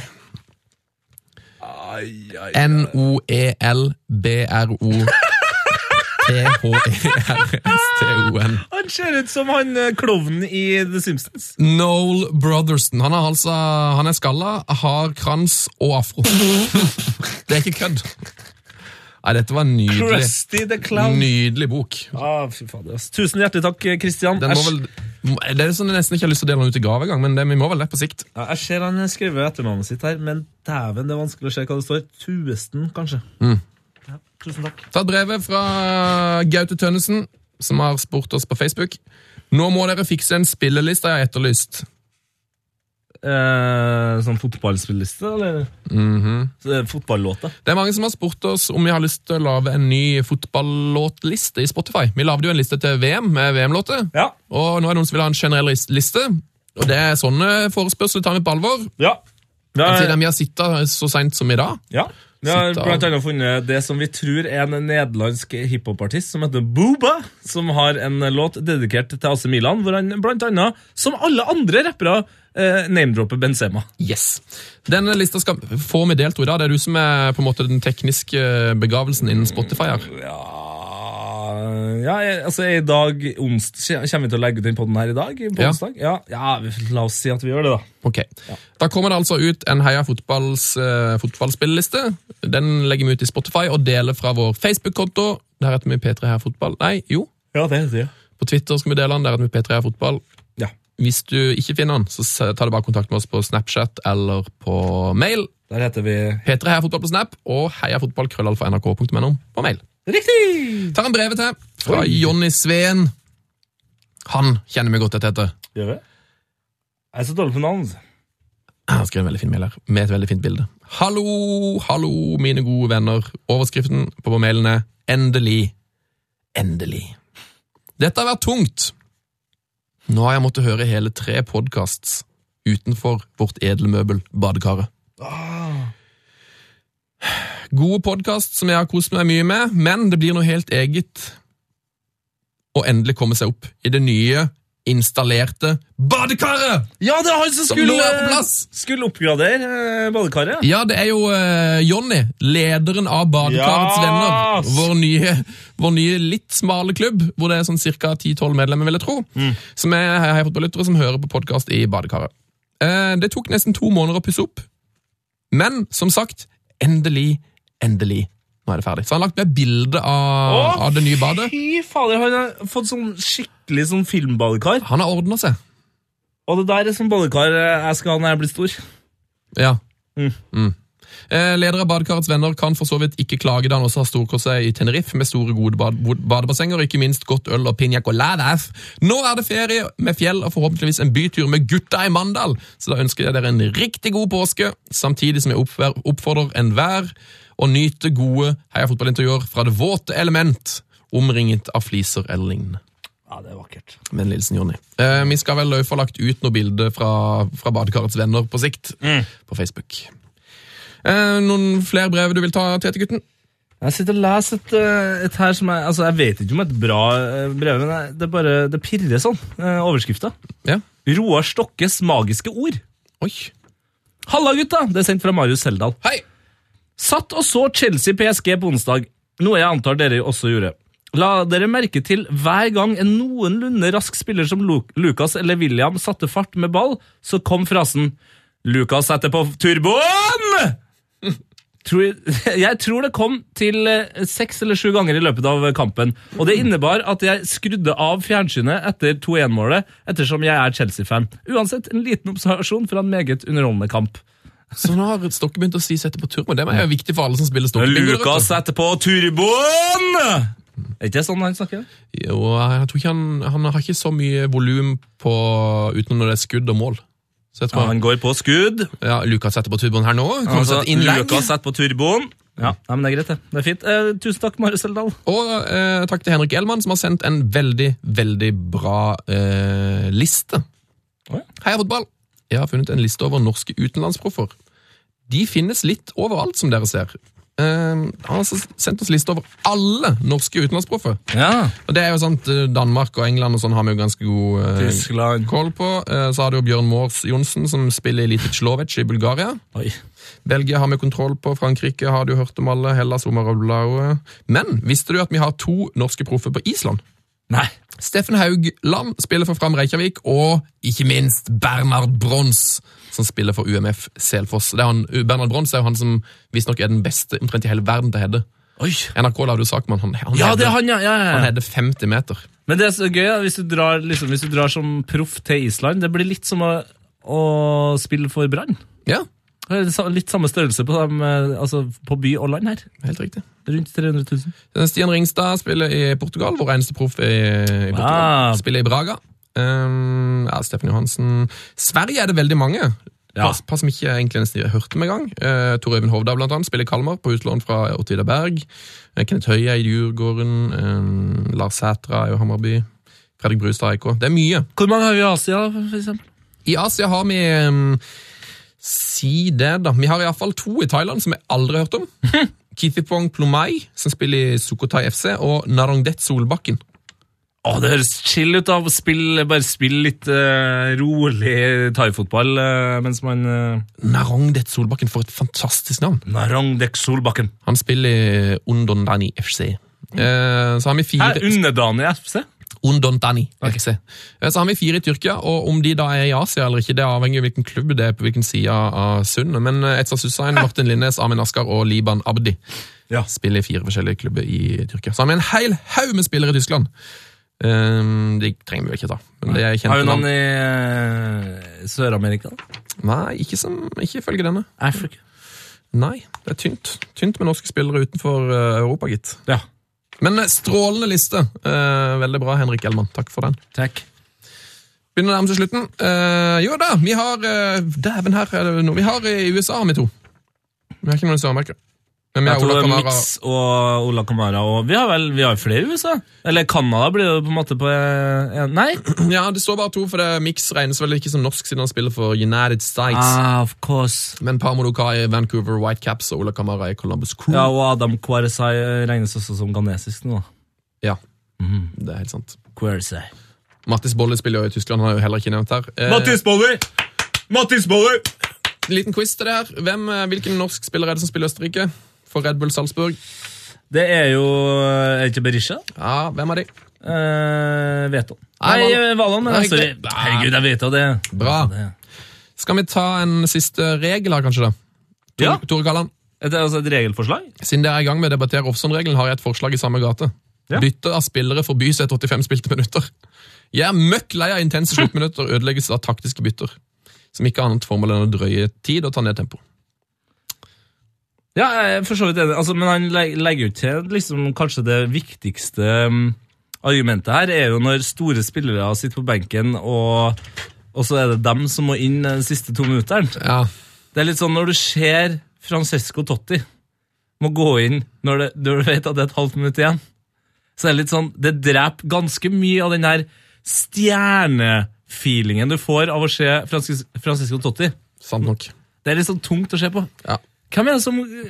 S4: E N-O-E-L-B-R-O-T-H-E-R-S-T-O-N. E
S3: Han ser ut som han eh, klovnen i The Simpsons.
S4: Noel Brotherston. Han er, altså, han er skalla, har krans og afro. Det er ikke kødd. Nei, dette var en nydelig,
S3: Krusty the Clown.
S4: nydelig bok.
S3: Ah, fy fader, ass. Tusen hjertelig takk, Kristian.
S4: Den må
S3: Jeg,
S4: vel, det er sånn jeg nesten ikke har lyst til å dele den ut i gave engang, men det, vi må vel det på sikt.
S3: ja, jeg ser han skriver etternavnet sitt her, men dæven, det er vanskelig å se hva det står. Tuesten, kanskje.
S4: Mm.
S3: Ja, tusen takk.
S4: tatt brevet fra Gaute Tønnesen, som har spurt oss på Facebook. Nå må dere fikse en spilleliste jeg har etterlyst.
S3: Eh, sånn fotballspilleliste, eller?
S4: Mhm.
S3: Så det er Fotballåter.
S4: Det er mange som har spurt oss om vi har lyst til å lage en ny fotballåtliste i Spotify. Vi lagde jo en liste til VM med VM-låter,
S3: Ja.
S4: og nå er det noen som vil ha en generell ris- liste. Og det er sånne forespørsler tar vi på alvor.
S3: Ja. Ja,
S4: Siden vi har sittet så sent som i dag.
S3: ja. Vi har
S4: Sitte av-
S3: blant annet funnet det som vi tror er en nederlandsk hiphopartist som heter Booba, som har en låt dedikert til AC Milan, hvor han blant annet, som alle andre rappere, eh, namedropper Benzema.
S4: Yes. Denne lista skal få vi delt, Oda. Det er du som er på en måte den tekniske eh, begavelsen innen Spotify her.
S3: Ja, ja jeg- altså i dag onsdag, Kommer vi til å legge ut den podden her i dag? På
S4: Ja.
S3: onsdag? Ja. ja, vi- la oss si at vi gjør det, da.
S4: Ok. Da kommer det altså ut en Heia fotballs eh, fotballspilleliste. Den legger vi ut i Spotify og deler fra vår Facebook-konto. Der heter vi P3 Heia Fotball. Nei, jo.
S3: Ja, det heter det.
S4: På Twitter skal vi dele den. Der heter vi P3 Heia Fotball.
S3: Ja.
S4: Hvis du ikke finner den, så se- ta det bare kontakt med oss på Snapchat eller på mail.
S3: Der heter vi
S4: P3 Heia Fotball på Snap og heiafotballkrøllalfa.nrk.no på mail.
S3: Riktig!
S4: Tar en brevet til fra Jonny Sveen. Han kjenner vi godt et etter.
S3: Gjør vi? Jeg er så dårlig på navn. altså.
S4: Han skrev en veldig fin mail her, med et veldig fint bilde. Hallo, hallo, mine gode venner. Overskriften på vår mailen er Endelig. Endelig. Dette har vært tungt. Nå har jeg måttet høre hele tre podkasts utenfor vårt edelmøbel, badekaret. Gode podkast som jeg har kost meg mye med, men det blir noe helt eget å endelig komme seg opp i det nye, installerte badekaret!
S3: Ja, det er han som
S4: Som
S3: skulle,
S4: nå er på plass.
S3: skulle oppgradere eh, badekaret.
S4: Ja, det er jo eh, Jonny, lederen av Badekarets
S3: Yes!
S4: Venner. Vår nye, vår nye litt smale klubb, hvor det er sånn ca. 10-12 medlemmer, vil jeg tro. Som er hei, fotballyttere som hører på podkast i badekaret. Eh, det tok nesten to måneder å pusse opp, men som sagt, endelig, endelig. Nå er det ferdig. Så han har lagt med bilde av,
S3: Å,
S4: av det nye badet.
S3: Fy fader, han har fått sånn skikkelig sånn filmbadekar.
S4: Han har ordna seg.
S3: Og det der er sånn badekar eh, jeg skal ha når jeg blir stor.
S4: Ja.
S3: Mm.
S4: Mm. Eh, Leder av Badekarets venner kan for så vidt ikke klage da han også har storkost seg i Tenerife med store gode bad bod- badebassenger og ikke minst godt øl og piña coladas. Nå er det ferie med fjell og forhåpentligvis en bytur med gutta i Mandal, så da ønsker jeg dere en riktig god påske, samtidig som jeg oppver- oppfordrer enhver å nyte gode heiafotballintervjuer fra det våte element, omringet av fliser eller lignende.
S3: Ja, det er vakkert.
S4: Med en hilsen Jonny. Eh, vi skal vel få lagt ut noen bilder fra, fra Badekarets venner på sikt
S3: Mm.
S4: på Facebook. Eh, noen flere brev du vil ta, Tete-gutten?
S3: Jeg sitter og leser et, eh, et her som jeg Altså, jeg vet ikke om et bra eh, brev, men jeg- det er bare Det pirrer sånn, eh, overskrifta.
S4: Ja.
S3: Roar Stokkes magiske ord.
S4: Oi.
S3: Halla, gutta! Det er sendt fra Marius Seldal.
S4: Hei!
S3: Satt og så Chelsea PSG på onsdag, noe jeg antar dere også gjorde. La dere merke til hver gang en noenlunde rask spiller som Lu- Lucas eller William satte fart med ball, så kom frasen Lucas setter på turboen! Tror, jeg tror det kom til eh, seks eller sju ganger i løpet av kampen, og det innebar at jeg skrudde av fjernsynet etter 2-1-målet, ettersom jeg er Chelsea-fan. Uansett, en liten observasjon fra en meget underholdende kamp.
S4: Så nå har Stokke begynt å si 'sette på turbo'. Det er jo viktig for alle som spiller Stokke.
S3: Lukas setter på turboen! Er ikke det sånn han snakker?
S4: Jo, jeg tror ikke han, han har ikke så mye volum på utenom når det er skudd og mål. Så jeg
S3: Ja,
S4: tror
S3: han går på skudd.
S4: ja, Lukas setter på turboen her nå. Kommer til
S3: Altså,
S4: et innlegg.
S3: Lukas setter på turboen. Ja, nei, men Det er greit, det. Det er fint. Eh, tusen takk, Mari Seldal.
S4: Og eh, takk til Henrik Elman, som har sendt en veldig, veldig bra eh, liste.
S3: Oi.
S4: Heia fotball! Jeg har funnet en liste over norske utenlandsproffer. De finnes litt overalt, som dere ser. Eh, han har altså sendt oss liste over alle norske utenlandsproffer.
S3: Ja.
S4: Og det er jo sant, eh, Danmark og England og sånn har vi jo ganske god eh,
S3: Tyskland.
S4: kål på. Eh, så har du jo Bjørn Mårs Johnsen, som spiller i Litet Slovetsj i Bulgaria.
S3: Oi.
S4: Belgia har vi kontroll på, Frankrike har du hørt om alle, Hellas, Omar og Blaue. Men visste du at vi har to norske proffer på Island?
S3: Nei.
S4: Steffen Haugland spiller for Fram Reykjavik, og ikke minst Bernhard Brons, som spiller for UMF Selfoss. Det er han, Bernhard Brons er jo han som visstnok er den beste omtrent i hele verden til å hedde.
S3: Oi.
S4: NRK lagde jo sak med han. Han,
S3: Ja, det
S4: hedder-
S3: er han, ja. ja, ja.
S4: han hedder 50 meter.
S3: Men det er så gøy da, hvis du drar, liksom, hvis du drar som proff til Island. Det blir litt som å, å spille for Brann.
S4: Ja,
S3: Det er sa- Litt samme størrelse på, dem, eh, altså, på by og land her.
S4: helt riktig.
S3: Rundt 300 000.
S4: Eh, Stian Ringstad spiller i Portugal, vår eneste proff i, i Portugal.
S3: Ah.
S4: Spiller i Braga. Um, ja, Steffen Johansen. Sverige er det veldig mange.
S3: Ja.
S4: Pass, pass som ikke egentlig nesten jeg hørte med gang. Uh, Tor Øyvind Hovda blant annet, spiller i Kalmar på utlån fra Ottida Berg. Eh, Kenneth Høie er i Djurgården. Um, Lars Sætra er jo Hammarby. Fredrik Brustad er IK. Det er mye.
S3: Hvor mange har vi i Asia, for eksempel?
S4: I Asia har vi um, Si det, da. Vi har iallfall to i Thailand som jeg aldri har hørt om. Kithipong Plomai, som spiller i Sukhothai FC, og Narongdet Solbakken.
S3: Å, det høres chill ut av å spille, bare spille litt eh, rolig thaifotball eh, mens man uh,
S4: Narongdet Solbakken, for et fantastisk navn!
S3: Narang dek Solbakken.
S4: Han spiller i Undondani FC. Eh, så har vi fire
S3: Her, underdanig FC.
S4: Undondani FC. Eh, Så har vi fire i Tyrkia, og om de da er i Asia eller ikke, det avhenger av hvilken klubb det er på hvilken side av sundet. Men eh, Etsa Susain, Martin Linnes, Amin Askar og Liban Abdi
S3: Ja.
S4: spiller i fire forskjellige klubber i Tyrkia. Så har vi en hel haug med spillere i Tyskland. Eh, de trenger vi jo ikke ta. Men det er
S3: Har
S4: kjente
S3: vi
S4: navn.
S3: noen i eh, Sør-Amerika? da?
S4: Nei, ikke, som, ikke ifølge denne.
S3: Afrika.
S4: Nei, det er tynt. Tynt med norske spillere utenfor eh, Europa, gitt.
S3: Ja.
S4: Men eh, strålende liste. Eh, veldig bra, Henrik Elman. Takk for den.
S3: Takk.
S4: Begynner å nærme seg slutten. Eh, jo da, vi har eh, Dæven, her er det noe. Vi har eh, i USA, har vi to. Vi har ikke noen i Sør-Amerika. Men vi
S3: Jeg
S4: har
S3: tror
S4: Ola
S3: det er
S4: Kamara.
S3: Mix og Ola Kamara. Og vi har vel vi har flere i USA? Eller Canada blir det jo på en måte på eh, en, Nei?
S4: Ja, det står bare to, for det Mix regnes vel ikke som norsk siden han spiller for United States.
S3: Ah, of course.
S4: Men Par Modoka i Vancouver Whitecaps og Ola Kamara i Columbus Crew.
S3: Ja, og Adam Kwaresai regnes også som ghanesisk nå.
S4: Ja,
S3: Mhm.
S4: det er helt sant.
S3: Kwaresai.
S4: Mattis Bolle spiller jo i Tyskland, han er jo heller ikke nevnt her. Eh,
S3: Boller! Mattis Boller!
S4: En liten quiz til det her. Hvem, eh, hvilken norsk spiller er det som spiller i Østerrike? For Red Bull Salzburg.
S3: Det er jo eh, Er det ikke Berisha?
S4: Ja, hvem er de?
S3: Eh, Veton.
S4: Nei,
S3: Nei, eh,
S4: Valon.
S3: Valon.
S4: Nei,
S3: ja, Sorry.
S4: ikke-
S3: Herregud, jeg vet jo det.
S4: Bra.
S3: Det-
S4: Skal vi ta en siste regel her, kanskje? da? Tor-
S3: Ja.
S4: Tore Kalland,
S3: Er det altså et regelforslag?
S4: siden dere er i gang med å debattere Offson-regelen, har jeg et forslag i samme gate.
S3: Ja.
S4: Bytte av spillere forbys etter 85 spilte minutter. Jeg er møkk lei av intense sluttminutter og ødelegges av taktiske bytter. Som ikke har annet formål enn å drøye tid og ta ned tempo.
S3: Ja, jeg er for så vidt enig. Altså, men han leg- legger jo til liksom, kanskje det viktigste mm, argumentet her, er jo når store spillere sitter på benken, og, og så er det dem som må inn de siste to minuttene.
S4: Ja,
S3: Det er litt sånn når du ser Francesco Totti må gå inn når, det, når du vet at det er et halvt minutt igjen, så er det litt sånn Det dreper ganske mye av den der stjernefeelingen du får av å se Francis, Francesco Totti.
S4: Sant nok.
S3: Det er litt sånn tungt å se på.
S4: Ja.
S3: Hvem er det som Er det,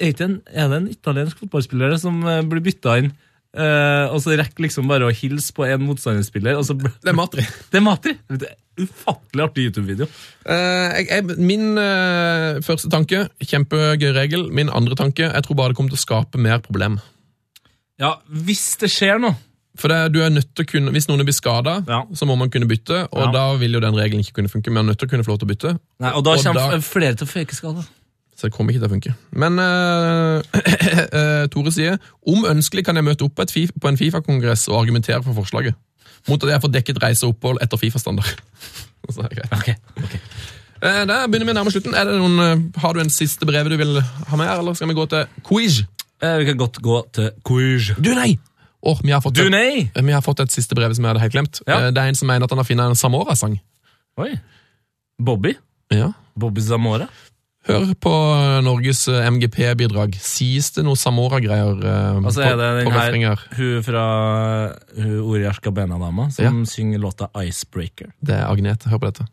S3: er ikke en, er det en italiensk fotballspiller som eh, blir bytta inn, eh, og så rekker liksom bare å hilse på en motstanderspiller, og så bl-
S4: Det er Matri.
S3: Det er Matri! Det er Ufattelig artig YouTube-video.
S4: Eh, jeg, jeg, min eh, første tanke, kjempegøy regel. Min andre tanke, jeg tror bare det kommer til å skape mer problem.
S3: Ja, hvis det skjer noe.
S4: For det, du er nødt til å kunne, Hvis noen blir skada,
S3: Ja.
S4: så må man kunne bytte. Og
S3: Ja.
S4: da vil jo den regelen ikke kunne funke. Men man er nødt til å kunne få lov til å bytte.
S3: Nei, og da
S4: Og
S3: kommer
S4: da-
S3: f- flere til å føyke skader.
S4: Så det kommer ikke til å funke. Men eh, eh, Tore sier om ønskelig kan jeg møte opp på, et FIFA, på en Fifa-kongress og argumentere for forslaget. Mot at jeg får dekket reise og opphold etter Fifa-standard. Så er det greit.
S3: Okay.
S4: Eh, Da begynner vi å nærme oss slutten. Er det noen, eh, har du en siste brev du vil ha med, her, eller skal vi gå til quiz?
S3: Eh, vi kan godt gå til quiz.
S4: Du, nei! Åh, vi, har fått
S3: Du,
S4: et,
S3: nei!
S4: vi har fått et siste brev som jeg hadde helt glemt.
S3: Ja.
S4: Eh, Det er en som mener at han har funnet en Samora-sang.
S3: Oi. Bobby?
S4: Ja.
S3: Bobby Zamora?
S4: Hør på eh, Norges eh, MGP-bidrag. Sies det noe Samora-greier eh,
S3: Altså
S4: på,
S3: er det
S4: på
S3: den her,
S4: refrenger?
S3: hun fra hun Uriash Gabena-dama som synger låta 'Icebreaker'.
S4: Det er Agnete. Hør på dette.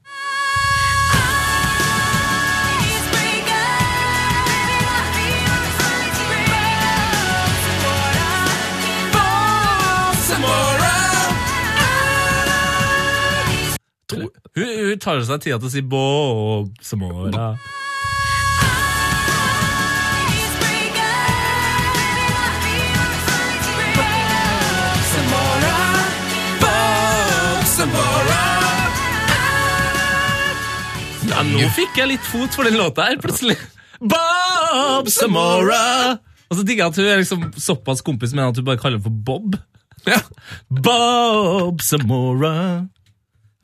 S3: Hun, hun tar seg tida til å si 'Bob Zamora'. Ja, nå fikk jeg litt fot for den låta her, plutselig. Bob Samora! Og så digger jeg at hun er liksom såpass kompis med henne at hun bare kaller henne for Bob. Bob Samora.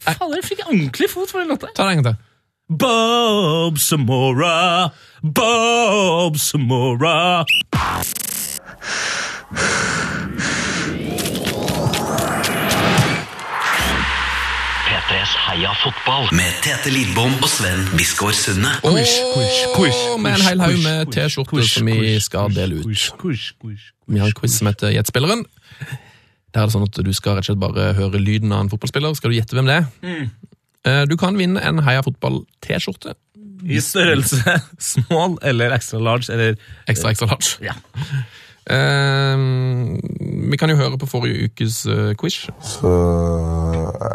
S3: Faen, jeg fikk ordentlig fot for den låta. her.
S4: Ta det en gang til.
S3: Bob Samora, Bob Samora.
S2: P3s Heia fotball med Tete Lidbom og Sven Biskår Sunne.
S4: Og med en hel haug med T-skjorter som vi skal dele ut. Vi har en quiz som heter Gjettspilleren. Der er det sånn at Du skal rett og slett bare høre lyden av en fotballspiller. Skal du gjette hvem det er? Eh, Du kan vinne en Heia Fotball-T-skjorte.
S3: I størrelse small eller extra large eller
S4: Ekstra, ekstra large.
S3: Ja.
S4: Eh, vi kan jo høre på forrige ukes eh, quiz.
S7: So uh, I,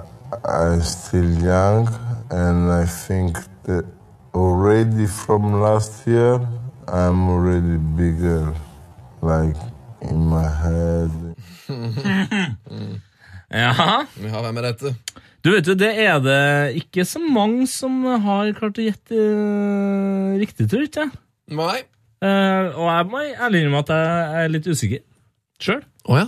S7: I'm still young, and I think that already from last year, I'm already bigger, like in my head.
S3: Ja.
S4: Vi har hvem er dette?
S3: Du vet jo, det er det ikke så mange som har klart å gjette eh, riktig, tror jeg. ikke.
S4: Nei.
S3: Eh, og jeg må ærlig innrømme at jeg er litt usikker sjøl.
S4: Å ja.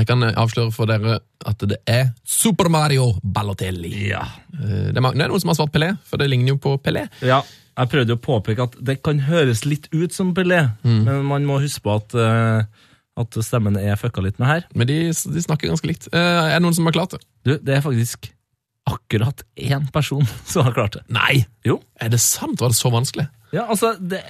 S4: Jeg kan eh, avsløre for dere at det er Super Mario Balotelli.
S3: Ja.
S4: Eh, Det er, ma- det er noen som har svart Pelé, for det ligner jo på Pelé.
S3: Jeg prøvde jo å påpeke at det kan høres litt ut som Pelé, men man må huske på at, eh, at stemmen er fucka litt med her.
S4: Men de, de snakker ganske likt. Eh, er det noen som har klart det?
S3: Du, det er faktisk akkurat én person som har klart det.
S4: Nei!
S3: Jo.
S4: Er det sant? Var det så vanskelig?
S3: Ja, altså, det,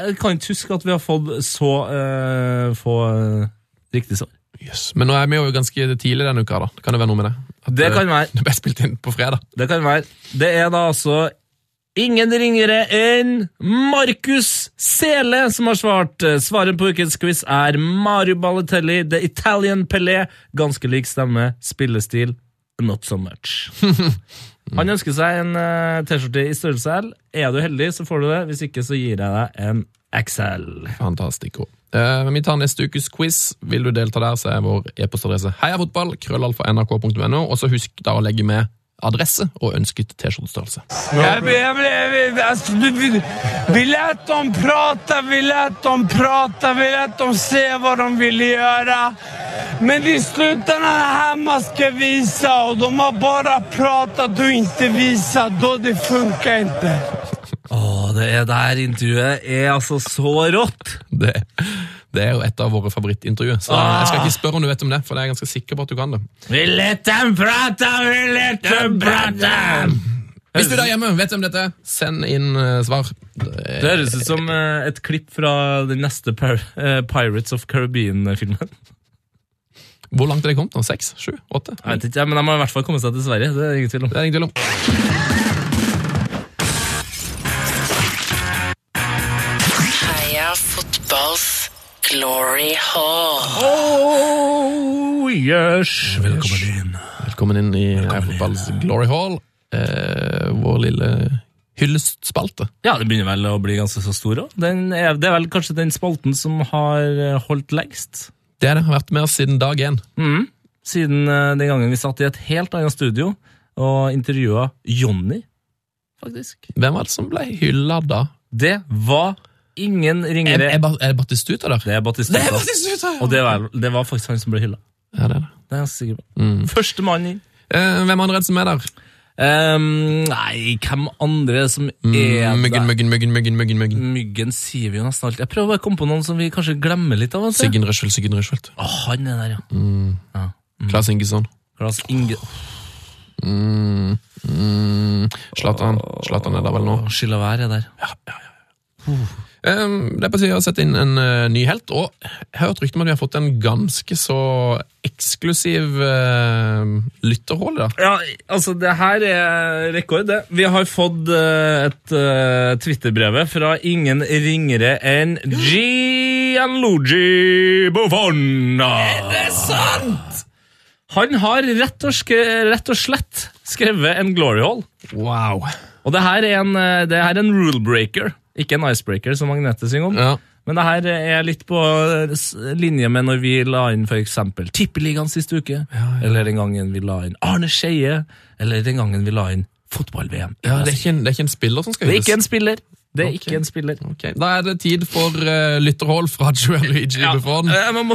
S3: jeg kan ikke huske at vi har fått så eh, få eh, riktig svar.
S4: Yes. Men nå er vi jo ganske tidlig denne uka, da. Kan det være noe med det? At,
S3: Det
S4: eh,
S3: kan være.
S4: Det ble spilt inn på fredag.
S3: Det kan være. Det er da altså ingen ringere enn Markus Sele som har svart. eh, Svaret på ukens quiz er Mario Balotelli, The Italian Pelé. Ganske lik stemme, spillestil, not so much. Han ønsker seg en eh, T-skjorte i størrelse L. Er du heldig, så får du det. Hvis ikke, så gir jeg deg en XL.
S4: Fantastisk. Eh, vi tar neste ukes quiz. Vil du delta der, så er vår e-postadresse heiafotball, krøllalfa nrk.no, og så husk da å legge med adresse og ønsket T-skjortestørrelse.
S1: Jag vill, jag vill, jag vill, alltså, vi- vi, vi lät dem prata, vi lät dem prata, vi lät dem se vad de ville göra. Men i slutändan är det här man ska visa och de har bara pratat och inte visat. Då det funkar inte.
S3: Åh, det er der intervjuet er altså så rått!
S4: Det, det er jo et av våre favorittintervjuer, så jeg skal ikke spørre om du vet om det, for jeg er ganske sikker på at du kan det.
S3: Vi let dem prate, vi let dem prate!
S4: Hvis du der hjemme vet om dette, send inn eh, svar.
S3: Det høres ut som eh, et klipp fra den neste Pir eh, Pirates of Caribbean-filmen.
S4: Hvor langt er det kommet nå? Seks? Sju? Åtte?
S3: Jeg vet ikke, men De har i hvert fall kommet seg til Sverige. det er ingen tvil om.
S4: Det er det ingen tvil om.
S8: Heia fotballs glory hall.
S3: Oh, yes. Velkommen inn.
S4: Velkommen inn i Fotballs Glory Hall, eh, vår lille hyllestspalte.
S3: Ja, Det begynner vel å bli ganske så stor òg. Det er vel kanskje den spalten som har eh, holdt lengst.
S4: Det er det, har vært med oss siden dag én.
S3: Siden eh, den gangen vi satt i et helt annet studio og intervjua Jonny, faktisk.
S4: Hvem var det som ble hylla da?
S3: Det var ingen
S4: Er,
S3: ringere.
S4: er, Bat- er det Batistuta der?
S3: Det er Batistuta.
S4: Det er Batistuta, ja!
S3: Og det var, det var faktisk han som ble hylla.
S4: Ja, det er det.
S3: Det er jeg ganske sikker på. Første mann inn.
S4: Eh, hvem andre er det som er der?
S3: Ehm, nei, hvem andre som er
S4: Mm, Myggen,
S3: der?
S4: myggen, myggen, myggen, myggen, myggen.
S3: Myggen sier vi jo nesten alltid. Jeg prøver bare å komme på noen som vi kanskje glemmer litt av. Vet du?
S4: Siggen Røsjel, Siggen Røsjel. Mm.
S3: Å, han er der, ja.
S4: Klas Ingesson.
S3: Klas Inge...
S4: Mm. Zlatan Zlatan er der vel nå.
S3: Skyld og vær er der.
S4: Ehm, det er på tide å sette inn en eh, ny helt, og jeg har hørt rykte om at vi har fått en ganske så eksklusiv uh, lytterhål. Da.
S3: Ja, altså det her er rekord det. Vi har fått eh, et eh, Twitter-brevet fra ingen ringere enn Gianluigi Buffon. Er det sant?! Han har rett og, ske, rett og slett skrevet en glory hall.
S4: Wow.
S3: Og det her er en, eh, det her er en rule breaker, ikke en icebreaker, som Agnete synger om.
S4: Ja.
S3: Men det her er litt på eh, s- linje med når vi la inn for eksempel Tippeligaen siste uke, eller den gangen vi la inn Arne Skeie, eller den gangen vi la inn fotball-VM. Altså,
S4: Ja, det, er ikke en, det er ikke en spiller som skal
S3: Det er ikke
S4: hylles.
S3: en spiller. Det er
S4: Ok.
S3: ikke en spiller.
S4: Ok, Da er det tid for eh, lytterhål fra Joel Luigi
S3: Ja,
S4: Buffon.
S3: eh, man må-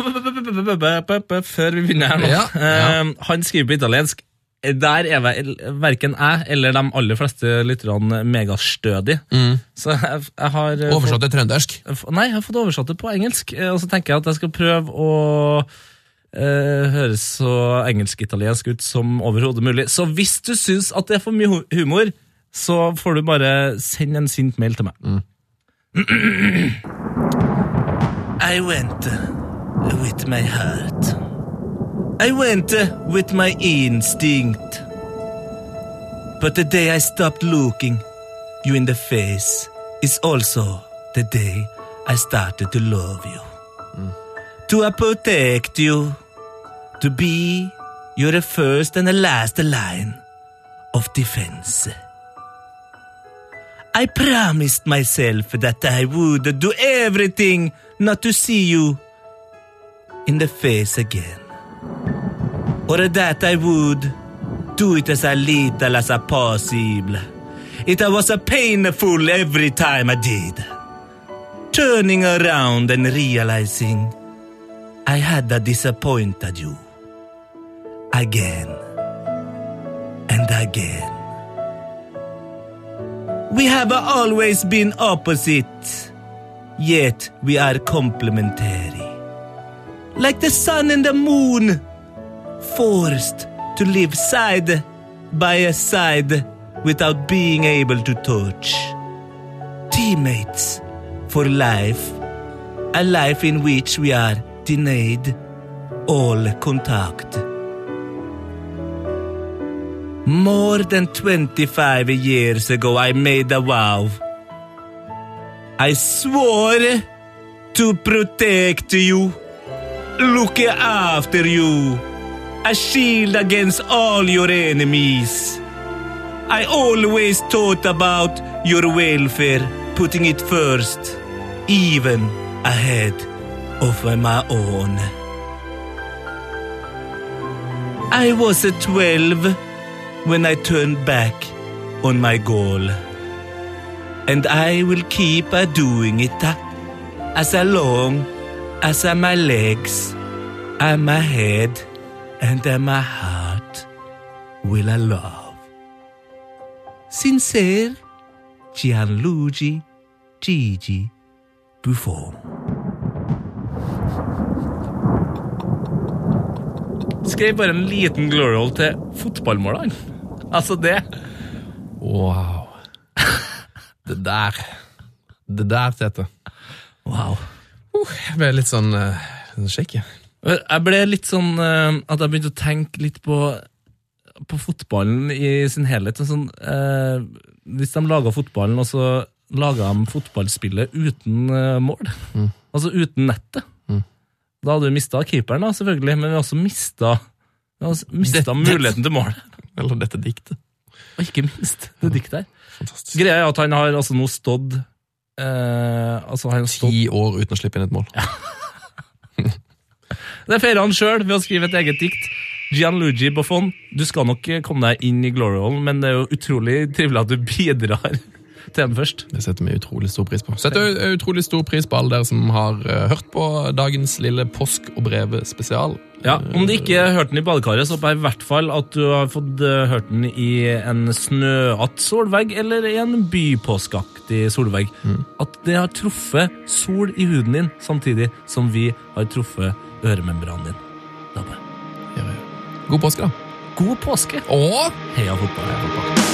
S3: Før vi begynner her nå.
S4: Ja, ja.
S3: Eh, Han skriver på italiensk. Der er vel verken jeg eller de aller fleste lytterne megastødige.
S4: Mm.
S3: Så jeg, jeg har eh, fått-
S4: Oversatt til trøndersk.
S3: F- Nei, jeg har fått oversatt det på engelsk, eh, og så tenker jeg at jeg skal prøve å eh, høres så engelsk-italiensk ut som overhodet mulig. Så hvis du syns at det er for mye hu- humor, så får du bare sende en sint mail til meg. I went with my heart. I went with my instinct. But the day I stopped looking you in the face is also the day I started to love you. To protect you, to be your first and the last line of defense. I promised myself that I would do everything not to see you in the face again. Or that I would do it as a little as a possible. It was a painful every time I did. Turning around and realizing I had disappointed you. Again and again. We have always been opposite, yet we are complementary. Like the sun and the moon forced to live side by side without being able to touch. Teammates for life, a life in which we are denied all contact. More than 25 years ago, I made a vow. I swore to protect you, look after you a shield against all your enemies. I always thought about your welfare, putting it first, even ahead of my own. I was 12 when I turned back on my goal. And I will keep a doing it uh, as long as uh, my legs and my head and that my heart will I love. Sincere, Gianluigi Gigi Buffon. Skrev bare en liten glory hole til fotballmålene. Altså det.
S4: Wow. Det der. Det der, Tete.
S3: Wow.
S4: Jeg ble litt sånn uh, shaky.
S3: Jeg ble litt sånn eh, at jeg begynte å tenke litt på, på fotballen i sin helhet. En Sånn, eh, hvis de laga fotballen, og så laga de fotballspillet uten eh, mål,
S4: Mm.
S3: altså uten nettet, da hadde vi mista keeperen, da, selvfølgelig, men vi hadde også mista Mista
S4: Dette-
S3: muligheten til mål,
S4: Eller dette diktet.
S3: og ikke minst det diktet her.
S4: Fantastisk.
S3: Greia er at han har altså nå stått eh, altså han har stått,
S4: Ti år uten å slippe inn et mål.
S3: Det feirer han sjøl ved å skrive et eget dikt. Gianluigi Buffon, du skal nok komme deg inn i glory hall, men det er jo utrolig trivelig at du bidrar til den først.
S4: Det setter vi utrolig stor pris på. Setter ut- utrolig stor pris på alle dere som har eh, hørt på dagens lille Påsk og brevet spesial.
S3: Ja, Om du ikke hørte den i badekaret, så håper jeg i hvert fall at du har fått eh, hørt den i en snøatt solvegg eller i en bypåskeaktig solvegg. At det har truffet sol i huden din samtidig som vi har truffet øremembranen din. Da bare.
S4: God påske, da.
S3: god påske.
S4: Og
S3: Heia fotball. Heia fotball.